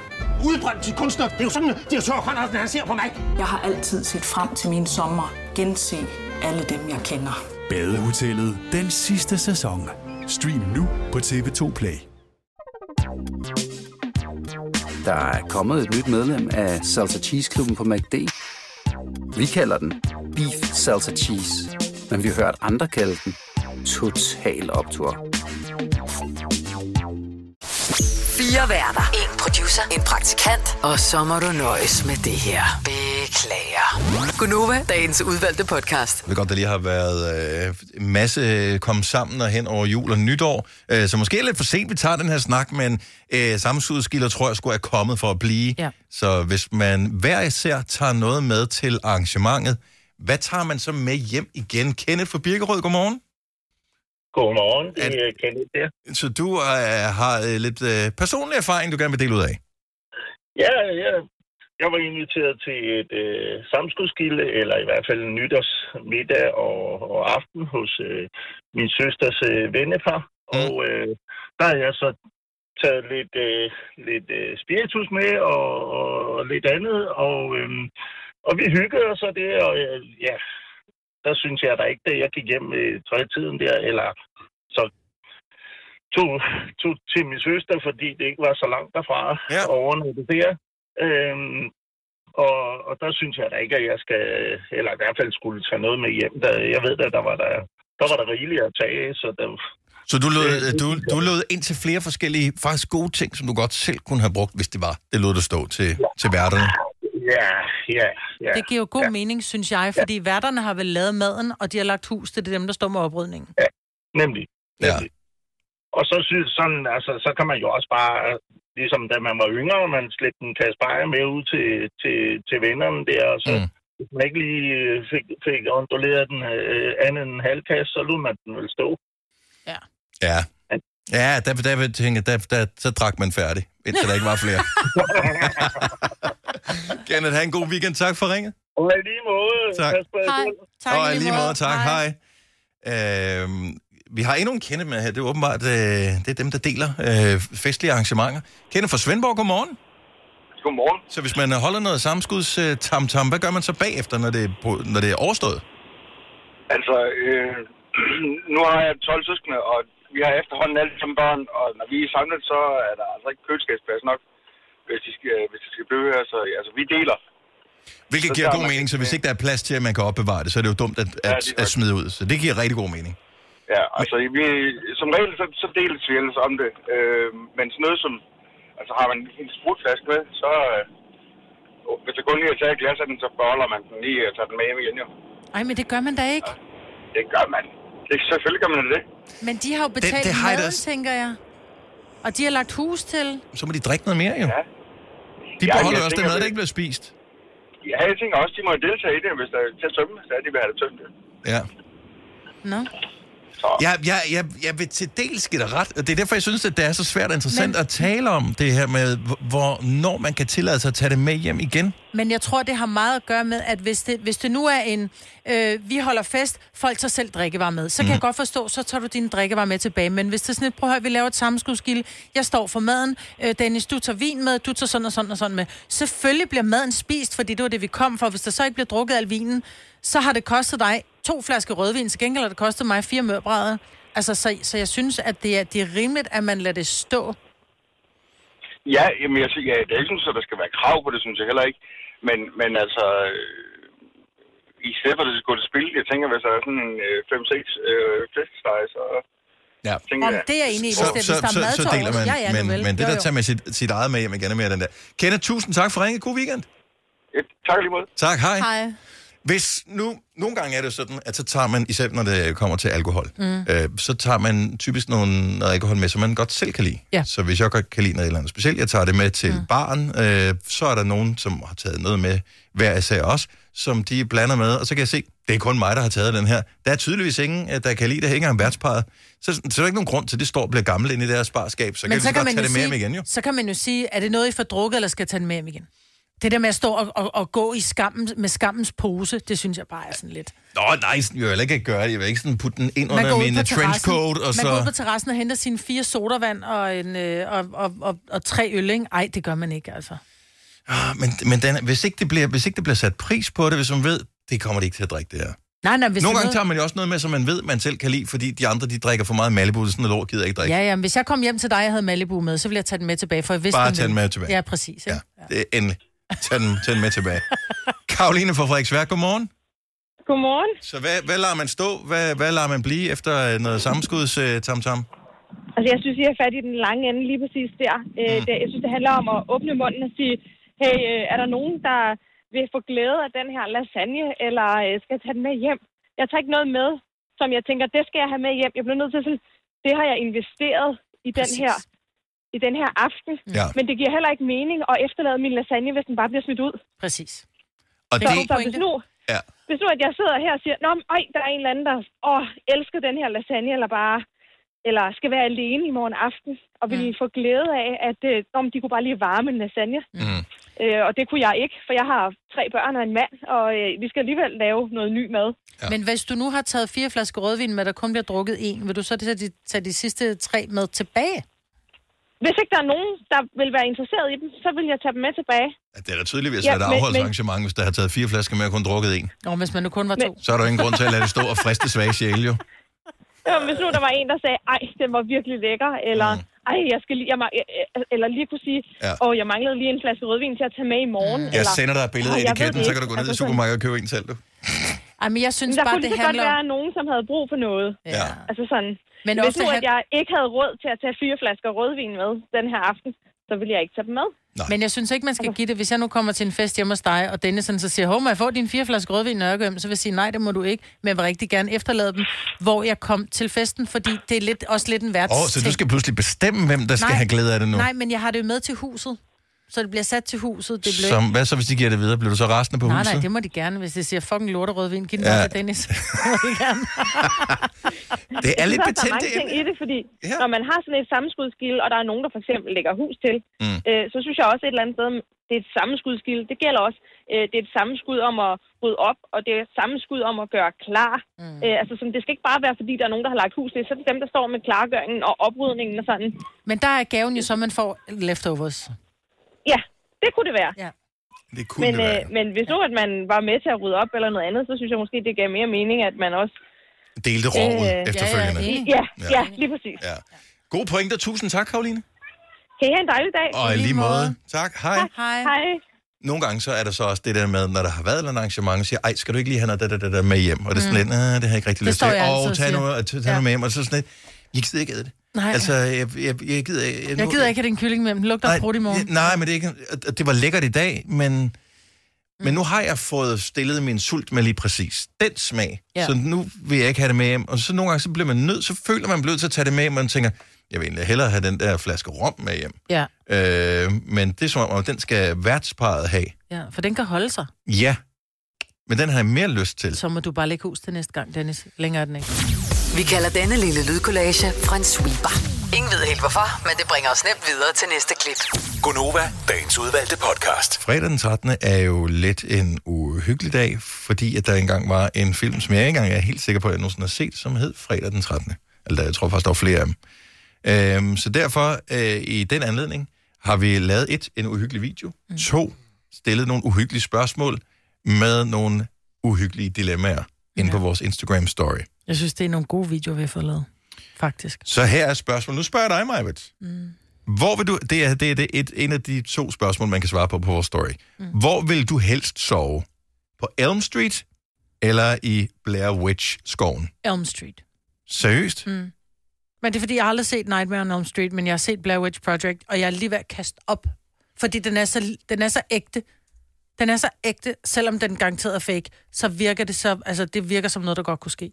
Udbrøndt til kunstner. Det er jo sådan, at de har tørt, han, han ser på mig. Jeg har altid set frem til min sommer. Gense alle dem, jeg kender. Badehotellet den sidste sæson. Stream nu på TV2 Play. Der er kommet et nyt medlem af Salsa Cheese Klubben på MACD. Vi kalder den Beef Salsa Cheese, men vi har hørt andre kalde den Total Optor. Fire værter. En producer. En praktikant. Og så må du nøjes med det her. Beklager. Gunova, dagens udvalgte podcast. Jeg ved godt, der lige har været øh, en masse kom sammen og hen over jul og nytår, øh, så måske er det lidt for sent, vi tager den her snak, men øh, sammensudsskilder tror jeg skulle er kommet for at blive. Ja. Så hvis man hver især tager noget med til arrangementet, hvad tager man så med hjem igen? Kenneth fra Birkerød, godmorgen. Godmorgen, det er Kenneth der. Så du øh, har øh, lidt øh, personlig erfaring, du gerne vil dele ud af. Ja, ja. Jeg var inviteret til et øh, samskudskilde, eller i hvert fald en nytårsmiddag og, og aften hos øh, min søsters øh, vennepar. Mm. Og øh, der har jeg så taget lidt, øh, lidt øh, spiritus med og, og, og lidt andet. Og, øh, og vi hyggede os og det, og øh, ja, der synes jeg da ikke, da jeg gik hjem i trætiden der, eller så tog, tog til min søster, fordi det ikke var så langt derfra ja. og overnatte der. Øhm, og, og der synes jeg da ikke, at jeg skal, eller i hvert fald skulle tage noget med hjem. Der, jeg ved da, der var der, der var der rigeligt at tage, af, så der, Så du lod, øh, du, du lod ind til flere forskellige, faktisk gode ting, som du godt selv kunne have brugt, hvis det var, det lod du stå til, til værterne. ja, ja, ja. Det giver jo god ja. mening, synes jeg, fordi ja. værterne har vel lavet maden, og de har lagt hus til det er dem, der står med oprydningen. Nemlig. Ja. Og så synes sådan, altså, så kan man jo også bare, ligesom da man var yngre, man slæbte en kasse bajer med ud til, til, til vennerne der, og så mm. hvis man ikke lige øh, fik, fik onduleret den øh, anden end en halv kasse, så lod man den vel stå. Ja. Ja, der, der, der, tænker, jeg, der, der, så drak man færdig, indtil der ikke var [laughs] flere. Kenneth, have en god weekend. Tak for ringet. Og i lige måde, Tak. pas på jer Hej. selv. Tak og i lige måde, tak. Hej. Hej. Øhm, vi har endnu en kende med her. Det er åbenbart øh, det er dem, der deler øh, festlige arrangementer. Kende fra Svendborg, godmorgen. Godmorgen. Så hvis man øh, holder noget samskuds øh, tam tam, hvad gør man så bagefter, når det, er på, når det er overstået? Altså, øh, [clears throat] nu har jeg 12 søskende, og vi har efterhånden alle som børn, og når vi er samlet, så er der altså ikke køleskabsplads nok, hvis de skal, hvis de skal blive her. Så altså, vi deler. Hvilket Så giver tager god man- mening, så hvis ikke der er plads til, at man kan opbevare det, så er det jo dumt at, Ja, at, det er at smide ud. Så det giver rigtig god mening. Ja, altså, vi, som regel, så, så deles vi ellers om det. Øh, men sådan noget som, altså har man en sprutflaske med, så... Øh, hvis det kun lige er taget et glas af den, så beholder man den lige og tager den med hjem igen, jo. Ej, men det gør man da ikke. Det gør man. Det, selvfølgelig gør man det. Men de har jo betalt det, det det har jeg da maden, også- tænker jeg. Og de har lagt hus til. Så må de drikke noget mere, jo. Ja. De Ja, beholder jeg ja, også den tænker, mad, der det- ikke bliver spist. Ja, jeg tænker også, de må deltage i det, hvis der er til at tømme, så er de vil have det tømt. jo. Ja. Nå. Jeg, jeg, jeg, jeg vil til dels give dig ret. og Det er derfor, jeg synes, at det er så svært og interessant Men... at tale om det her med, hvor- hvornår man kan tillade sig at tage det med hjem igen. Men jeg tror, det har meget at gøre med, at hvis det, hvis det nu er en, øh, vi holder fest, folk tager selv drikkevarer med, så kan mm. jeg godt forstå, så tager du dine drikkevarer med tilbage. Men hvis det er sådan et, prøv at høre, vi laver et sammenskudskilde, jeg står for maden, øh, Dennis, du tager vin med, du tager sådan og sådan og sådan med. Selvfølgelig bliver maden spist, fordi det var det, vi kom for. Hvis der så ikke bliver drukket al vinen, så har det kostet dig to flasker rødvin, til gengæld har det kostet mig fire mørbrædder. Altså, så, så jeg synes, at det er, det er rimeligt, at man lader det stå. Ja, jamen, jeg, sy- ja, det er ikke sådan, at der skal være krav på det, synes jeg heller ikke. Men, men altså, øh, i stedet for at det skal gå til spil, jeg tænker, hvis der er sådan en øh, 5-6 øh, feststeg, så Ja. tænker Om det er jeg enig i, hvis, Så, det, hvis så, der er så, mad til så deler overs. man, ja, ja, men, nuvel. men det Jo, der jo. tager med sit, sit eget med hjem igen er mere den der. Kenneth, tusind tak for ringet. God weekend. Ja, tak lige måde. Tak, hej. Hej. Hvis nu, nogle gange er det sådan, at så tager man, især når det kommer til alkohol, Mm. øh, så tager man typisk nogle, noget alkohol med, som man godt selv kan lide. Ja. Så hvis jeg godt kan lide noget eller andet specielt, jeg tager det med til mm. baren, øh, så er der nogen, som har taget noget med hver især også, som de blander med, og så kan jeg se, det er kun mig, der har taget den her. Der er tydeligvis ingen, øh, der kan lide det, ikke engang værtsparet. Så, så er der ikke nogen grund til, at det står og bliver gammel inde i deres barskab, så Men kan vi så godt tage det med sige, hjem igen, jo. Så kan man jo sige, er det noget, I får drukket, eller skal jeg tage den med hjem igen? Det der med at stå og, og, og gå i skammen, med skammens pose, det synes jeg bare er sådan lidt. Nå, nej, sådan vil jeg heller ikke gøre det. Jeg vil ikke sådan putte den ind under går ud på min øh, terrassen- trenchcoat, og man så... går ud på terrassen og henter sine fire sodavand og, en, øh, og, og, og, og tre øl, ikke? Ej, det gør man ikke, altså. Ah, men men den, hvis, ikke det bliver, hvis ikke det bliver sat pris på det, hvis man ved, det kommer de ikke til at drikke det her. Nej, nej, hvis Nogle gange det er noget- tager man jo også noget med, som man ved, man selv kan lide, fordi de andre, de drikker for meget Malibu, så sådan noget lort gider jeg ikke drikke. Ja, ja, men hvis jeg kom hjem til dig, og jeg havde Malibu med, så ville jeg tage den med tilbage, for jeg vidste... Bare ville- tage den med tilbage. Ja, præcis. Ja. Det er endelig. Tag den, tag den med tilbage. Karoline fra Frederiksværk, godmorgen. Godmorgen. Så hvad, hvad lader man stå? Hvad, hvad lader man blive efter øh, noget sammenskuds øh, tam-tam? Altså, jeg synes, I har fat i den lange ende lige præcis der. Øh, det, jeg synes, det handler om at åbne munden og sige, hey, øh, er der nogen, der vil få glæde af den her lasagne, eller øh, skal jeg tage den med hjem? Jeg tager ikke noget med, som jeg tænker, det skal jeg have med hjem. Jeg bliver nødt til sådan, det har jeg investeret i den Præcis. her i den her aften. Ja. Men det giver heller ikke mening at efterlade min lasagne, hvis den bare bliver smidt ud. Præcis. Og så, så altså, hvis nu, Ja. hvis nu, at jeg sidder her og siger, Nå, men, øj, der er en eller anden, der åh, elsker den her lasagne, eller bare eller skal være alene i morgen aften, og vil få glæde af, at øh, nå, men de kunne bare lige varme en lasagne. Mm. Øh, og det kunne jeg ikke, for jeg har tre børn og en mand, og øh, vi skal alligevel lave noget ny mad. Ja. Men hvis du nu har taget fire flasker rødvin med, der kun bliver drukket en, vil du så tage de, tage de sidste tre med tilbage? Hvis ikke der er nogen, der vil være interesseret i dem, så vil jeg tage dem med tilbage. Det er da tydeligvis Ja, ja, et men- men- afholdsarrangement, hvis der har taget fire flasker med og kun drukket en. Nå, hvis man nu kun var to. Så er der jo ingen grund til at lade det stå og friste svage sjæle, jo. Ja, hvis nu der var en, der sagde, ej, den var virkelig lækker, eller ej, jeg skal lige, jeg, ma- øh, øh," eller lige kunne sige, Mm. Ja. åh, jeg manglede lige en flaske rødvin til at tage med i morgen. Jeg eller, sender dig et billede af "Ej, jeg ved etiketten, det så kan du gå ikke." ned i Altså, sådan- supermarkedet og købe en selv, du. Ej, men jeg synes Men der bare, kunne det lige så handler godt om... være nogen, som havde brug for noget. Ja. Altså sådan. Men Men Hvis ofte nu, han- at jeg ikke havde råd til at tage fire flasker rødvin med den her aften, så ville jeg ikke tage dem med. Nej. Men jeg synes ikke, man skal Altså. give det. Hvis jeg nu kommer til en fest hjemme hos dig, og Dennis sådan, så siger, hov, må jeg få din fire flasker rødvin nørkøm? Så vil jeg sige, nej, det må du ikke, men jeg vil rigtig gerne efterlade dem, hvor jeg kom til festen, fordi det er lidt, også lidt en værts. Åh, oh, så du skal pludselig bestemme, hvem der skal nej, have glæde af det nu? Nej, men jeg har det jo med til huset. Så det bliver sat til huset. Det bliver Som, ikke- hvad så, hvis de giver det videre? Bliver du så resten på nej, huset? nej, det må de gerne, hvis det siger fucking lort og rødvin. Giv den Ja. ja. til Dennis. [laughs] Det må de gerne. [laughs] Det er lidt jeg synes, også, der er betændt mange ting i det, fordi ja. når man har sådan et sammenskudskilde, og der er nogen, der for eksempel lægger hus til, Mm. øh, så synes jeg også et eller andet sted, det er et sammenskudskilde. Det gælder også, øh, det er et sammenskud om at rydde op, og det er et sammenskud om at gøre klar. Mm. Øh, altså, sådan, det skal ikke bare være, fordi der er nogen, der har lagt hus til, så er det dem, der står med klargøringen og oprydningen og sådan. Men der er gaven jo så, man får leftovers. Ja, det kunne det være. Ja. Det men, Øh, men hvis nu, at man var med til at rydde op eller noget andet, så synes jeg måske, det gav mere mening, at man også... Delte rovet øh, efterfølgende. Ja, ja, ja, ja, lige præcis. Ja. God pointe. Tusind tak, Karoline. Kan I have en dejlig dag? Og i lige måde. Tak. Hej. Hej. Hej. Nogle gange så er der så også det der med, når der har været et eller andet arrangement, så siger, ej, skal du ikke lige have noget der, der, der med hjem? Og det er sådan lidt, Mm. "Nå, det har jeg ikke rigtig Det lyst står til. jeg altid Og og tag siger. noget, tag noget med hjem. Og så sådan lidt, jeg gider ikke æde det. Nej. Altså, jeg, jeg, jeg gider ikke... Jeg gider ikke have den kylling med, den lugter af prut i morgen. Nej, men det, er ikke, at- at det var lækkert i dag, men, mm. men nu har jeg fået stillet min sult med lige præcis den smag. Ja. Ja. Så nu vil jeg ikke have det med hjem. Og så nogle gange, så bliver man nødt, så føler man blødt til at tage det med hjem, og man tænker, jeg vil egentlig hellere have den der flaske rom med hjem. Ja, Øh, men det er som om, at den skal værtsparet have. ja, for den kan holde sig. Ja, men den har jeg mere lyst til. Så må du bare lægge hus til næste gang, Dennis. Længere er den ikke. Vi kalder denne lille lydkollage Frans sweeper. Ingen ved helt hvorfor, men det bringer os nemt videre til næste klip. Gunova, dagens udvalgte podcast. Fredag den 13. er jo lidt en uhyggelig dag, fordi at der engang var en film, som jeg ikke engang er helt sikker på, at jeg nogensinde har set, som hed Fredag den 13. Eller jeg tror faktisk, der var flere af dem. Øhm, så derfor, øh, i den anledning, har vi lavet et, en uhyggelig video. Mm. To, stillet nogle uhyggelige spørgsmål med nogle uhyggelige dilemmaer inde på vores Instagram-story. Jeg synes, det er nogle gode videoer, vi har fået lavet. Faktisk. Så her er spørgsmålet. Nu spørger jeg dig, Majbet. Mm. Hvor vil du, det er, det er det et, en af de to spørgsmål, man kan svare på på vores story. Mm. Hvor vil du helst sove? På Elm Street eller i Blair Witch-skoven? Elm Street. Seriøst? Mm. Men det er, fordi jeg har aldrig set Nightmare on Elm Street, men jeg har set Blair Witch Project, og jeg er lige ved at kaste op. Fordi den er så, den er så ægte. Den er så ægte, selvom den garanteret er fake, så virker det så, altså det virker som noget, der godt kunne ske.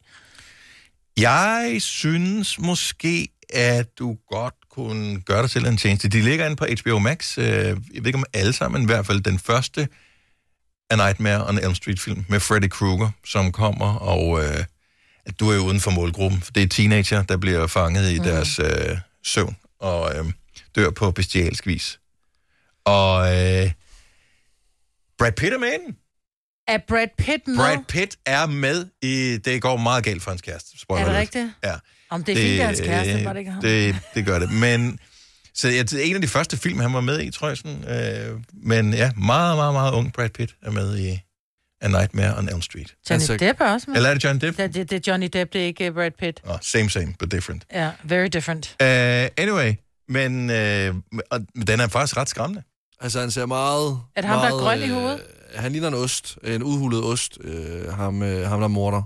Jeg synes måske, at du godt kunne gøre dig selv en tjeneste. De ligger inde på HBO Max. Øh, jeg ved ikke om alle sammen, men i hvert fald den første A Nightmare on Elm Street-film med Freddy Krueger, som kommer, og øh, at du er jo uden for målgruppen. For det er teenager, der bliver fanget Mhm. i mm. deres øh, søvn og øh, dør på bestialsk vis. Og øh, Brad Pitt er med i den. Er Brad Pitt med? Brad Pitt er med i... Det går meget galt for hans kæreste. spoiler Er det alert. rigtigt? Ja. Om det er fint, det er hans kæreste, var det ikke ham? Øh, Det, det gør det. Men, så jeg, det er en af de første film, han var med i, tror jeg. Sådan, øh, men ja, meget, meget, meget ung Brad Pitt er med i A Nightmare on Elm Street. Johnny Altså- Depp er også med. altså- Eller er det Johnny Depp? Det, det, det er Johnny Depp, det er ikke øh, Brad Pitt. Oh, same, same, but different. Ja, yeah, very different. Uh, anyway, men øh, og den er faktisk ret skræmmende. Altså, han ser meget... Er det ham, der er meget, grøn i hovedet? Øh, han ligner en ost. En udhulet ost. Øh, ham, øh, ham, der morder.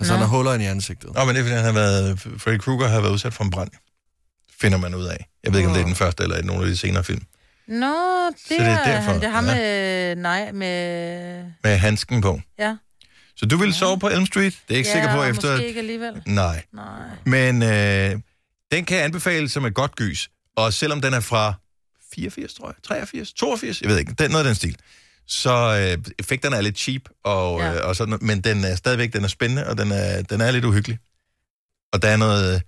Altså, Nå. han har huller ind i ansigtet. Nå, men det er, fordi han har været, Øh, Freddy Krueger har været udsat for en brand. Finder man ud af. Jeg ved ikke, om det er den første eller nogle af de senere film. Nå, det, det er er, derfor, han, det er ham ja. med, nej, med, Med handsken på. ja. Så du vil sove på Elm Street? Det er jeg ikke ja, sikker på og efter... Måske ikke alligevel. Nej. Nej. Men øh, den kan anbefales som et godt gys. Og selvom den er fra 84, tror jeg, 83, 82, jeg ved ikke, den, noget af den stil. Så øh, effekterne er lidt cheap, og, ja. Ja. øh, og sådan, noget, men den er stadigvæk den er spændende, og den er, den er lidt uhyggelig. Og der er noget,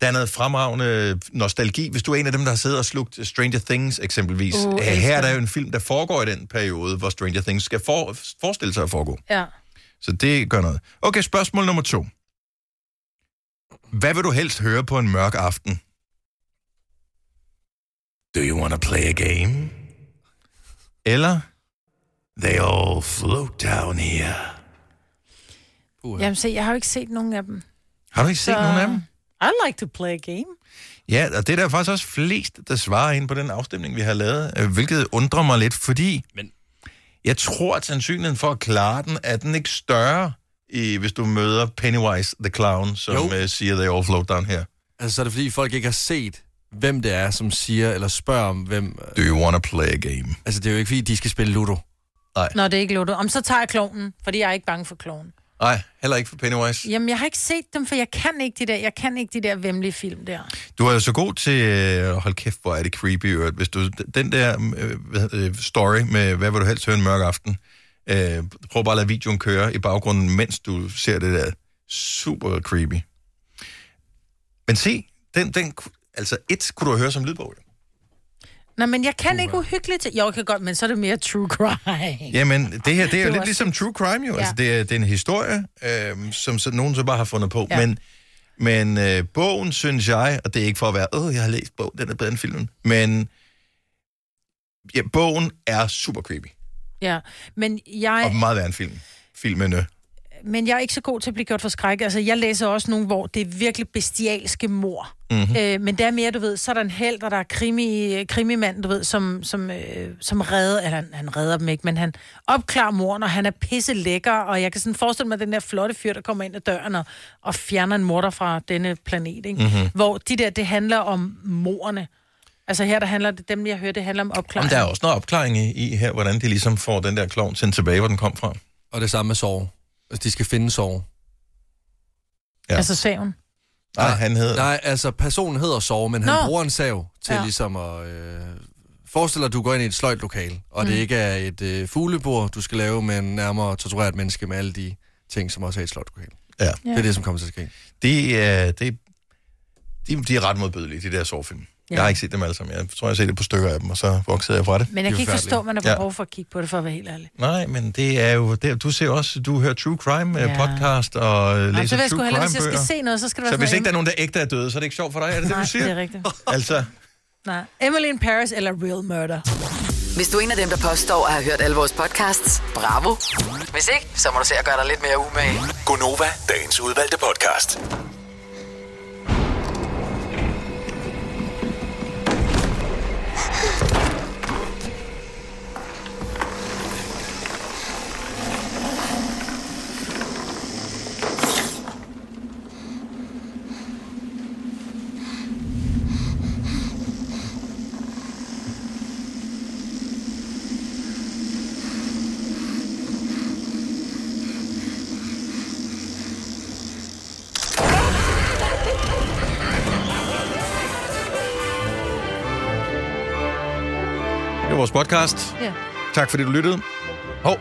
der er noget fremragende nostalgi. Hvis du er en af dem, der har siddet og slugt Stranger Things eksempelvis. Uh, Uh, elsker her er der den. jo en film, der foregår i den periode, hvor Stranger Things skal for, forestille sig at foregå. Ja. Så det gør noget. Okay, spørgsmål nummer to. Hvad vil du helst høre på en mørk aften? Do you want to play a game? Eller? They all float down here. Jamen se, jeg har jo ikke set nogen af dem. Har du ikke set Så- nogen af dem? I like to play a game. Ja, og det er der faktisk også flest, der svarer ind på den afstemning, vi har lavet, øh, hvilket undrer mig lidt, fordi Men... jeg tror, at sandsynligheden for at klare den, er den ikke større, i, hvis du møder Pennywise the Clown, som Jo. jo. siger, they all float down here. Altså, så er det fordi, folk ikke har set, hvem det er, som siger eller spørger om, hvem... Do you wanna play a game? Altså, det er jo ikke, fordi de skal spille Ludo. Nej. Nå, det er ikke Lotto. Om så tager jeg klonen, fordi jeg er ikke bange for klonen. Nej, heller ikke for Pennywise. Jamen, jeg har ikke set dem, for jeg kan ikke de der, jeg kan ikke de der vemmelige film der. Du er jo så god til, øh, hold kæft, hvor er det creepy, i øvrigt. hvis du, den der øh, hvad hedder det, story med, hvad vil du helst høre en mørk aften, øh, prøv bare at lade videoen køre i baggrunden, mens du ser det der super creepy. Men se, den, den, ku- altså et kunne du høre som lydbog. jo. Nå, men jeg kan ikke uhyggeligt til... Jo, jeg kan godt, men så er det mere true crime. Jamen, det her, det er Det jo var lidt også- ligesom true crime jo, Ja. altså det er, det er en historie, øh, som så, nogen så bare har fundet på, Ja. men, men øh, bogen, synes jeg, og det er ikke for at være, øh, jeg har læst bogen, den er bedre end filmen, men ja, bogen er super creepy. Ja, men jeg... Og meget værre end film. Filmen. øh. men jeg er ikke så god til at blive gjort for skræk. Altså, jeg læser også nogle, hvor det er virkelig bestialske mor. Mhm. Mm-hmm. Øh, men der er mere, du ved, så er der en held, og der er krimi, krimimand, du ved, som, som, øh, som redder, eller han, han redder dem ikke, men han opklarer moren, og han er pisse lækker, og jeg kan sådan forestille mig den der flotte fyr, der kommer ind ad døren og, og fjerner en morter fra denne planet, Mhm. ikke? Mm-hmm. Hvor de der, det handler om morerne. Altså her, der handler det, dem jeg hører, det handler om Om opklaring. der er også noget opklaring i, i her, hvordan de ligesom får den der klovn sendt tilbage, hvor den kom fra. Og det samme med Sorg. Altså, de skal finde Sorg. Ja. Altså saven. Nej, han hedder... Nej, altså, personen hedder Sorg, men han Nå. bruger en sav til Ja. ja. ligesom at... Øh, forestil dig, at du går ind i et sløjtlokale, og mm. det Mm. ikke er et øh, fuglebord, du skal lave med en nærmere tortureret menneske med alle de ting, som også er i et sløjtlokale. Ja. Det er det, som kommer til at ske. Det er... Det, de, de er ret modbydelige, de der sårfilm. Ja. Ja. Jeg har ikke set dem alle sammen. Jeg tror, jeg har set det på stykker af dem, og så voksede jeg fra det. Men jeg De er kan ikke forstå, at man har forfærdelige. behov for at kigge på det, for at være helt ærlig. Nej, men det er jo... Det, du ser også... Du hører True Crime ja. Ja. podcast og øh, Jamen, læser så vil jeg sgu True hellere, Crime hvis jeg skal bøger. se noget, så skal det være Så hvis sådan ikke der er nogen, der ægte er døde, så er det ikke sjovt for dig, er det det, Nej, du siger? det er rigtigt. Altså, Nej. Emily in Paris eller Real Murder. Hvis du er en af dem, der påstår at have hørt alle vores podcasts, bravo. Hvis ikke, så må du se at gøre dig lidt mere umage. Gonova, dagens udvalgte podcast. det er vores podcast. Ja. Tak fordi du lyttede. Hov,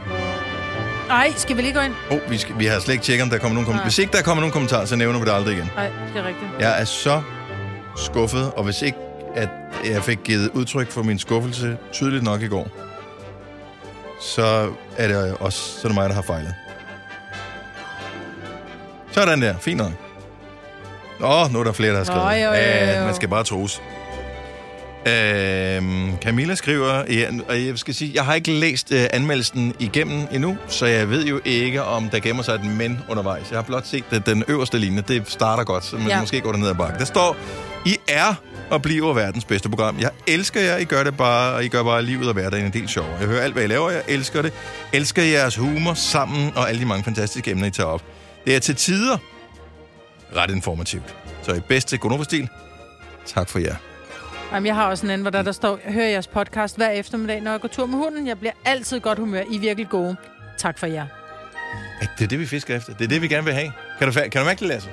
Ej, skal vi lige gå ind? oh, vi, skal, vi har slet ikke tjekket, om der kommer nogen kommentarer. Nej. Hvis ikke der kommer nogen kommentarer, så nævner vi det aldrig igen. Nej, det er rigtigt. Jeg er så skuffet, og hvis ikke at jeg fik givet udtryk for min skuffelse tydeligt nok i går, så er det også så er det mig, der har fejlet. Sådan der, fint nok. Åh, nu er der flere, der har skrevet. Nå, jo, jo, jo. Øh, man skal bare tros. Øhm, Camilla skriver, ja, og jeg skal sige, jeg har ikke læst øh, anmeldelsen igennem endnu, så jeg ved jo ikke, om der gemmer sig et men undervejs. Jeg har blot set at den øverste linje. Det starter godt, så man ja. Ja. måske går der ned ad bakke. Der står, I er og bliver verdens bedste program. Jeg elsker jer, I gør det bare, og I gør bare livet og hverdagen en del sjovere. Jeg hører alt, hvad I laver, jeg elsker det. Elsker jeres humor sammen og alle de mange fantastiske emner, I tager op. Det er til tider ret informativt. Så i bedste Gonova-stil, tak for jer. Jamen, jeg har også en anden, hvor der, der står, jeg hører jeres podcast hver eftermiddag, når jeg går tur med hunden. Jeg bliver altid i godt humør. I er virkelig gode. Tak for jer. At det er det, vi fisker efter. Det er det, vi gerne vil have. Kan du, fa- kan du mærke det, Lasse?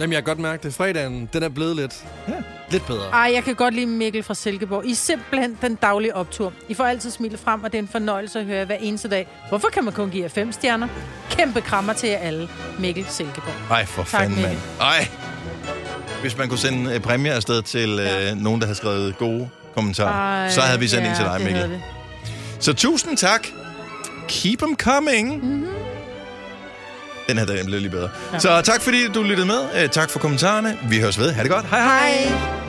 Jamen, jeg kan godt mærke det. Fredagen, den er blevet lidt, ja. lidt bedre. Ej, jeg kan godt lide Mikkel fra Silkeborg. I er simpelthen den daglige optur. I får altid smilet frem, og det er en fornøjelse at høre jer hver eneste dag. Hvorfor kan man kun give jer fem stjerner? Kæmpe krammer til jer alle. Mikkel Silkeborg. Ej, for Tak, fanden, mand. Mikkel. Ej. Hvis man kunne sende øh, præmier afsted til ja. øh, nogen, der har skrevet gode kommentarer, Ej, så havde vi sendt ja, en til dig, det havde Mikkel. vi. Så tusind tak. Keep them coming. Mhm. Mm-hmm. Den her, den blev lige bedre. Ja. Så tak, fordi du lyttede med. Øh, Tak for kommentarerne. Vi høres ved. Ha' det godt. Hej hej. hej.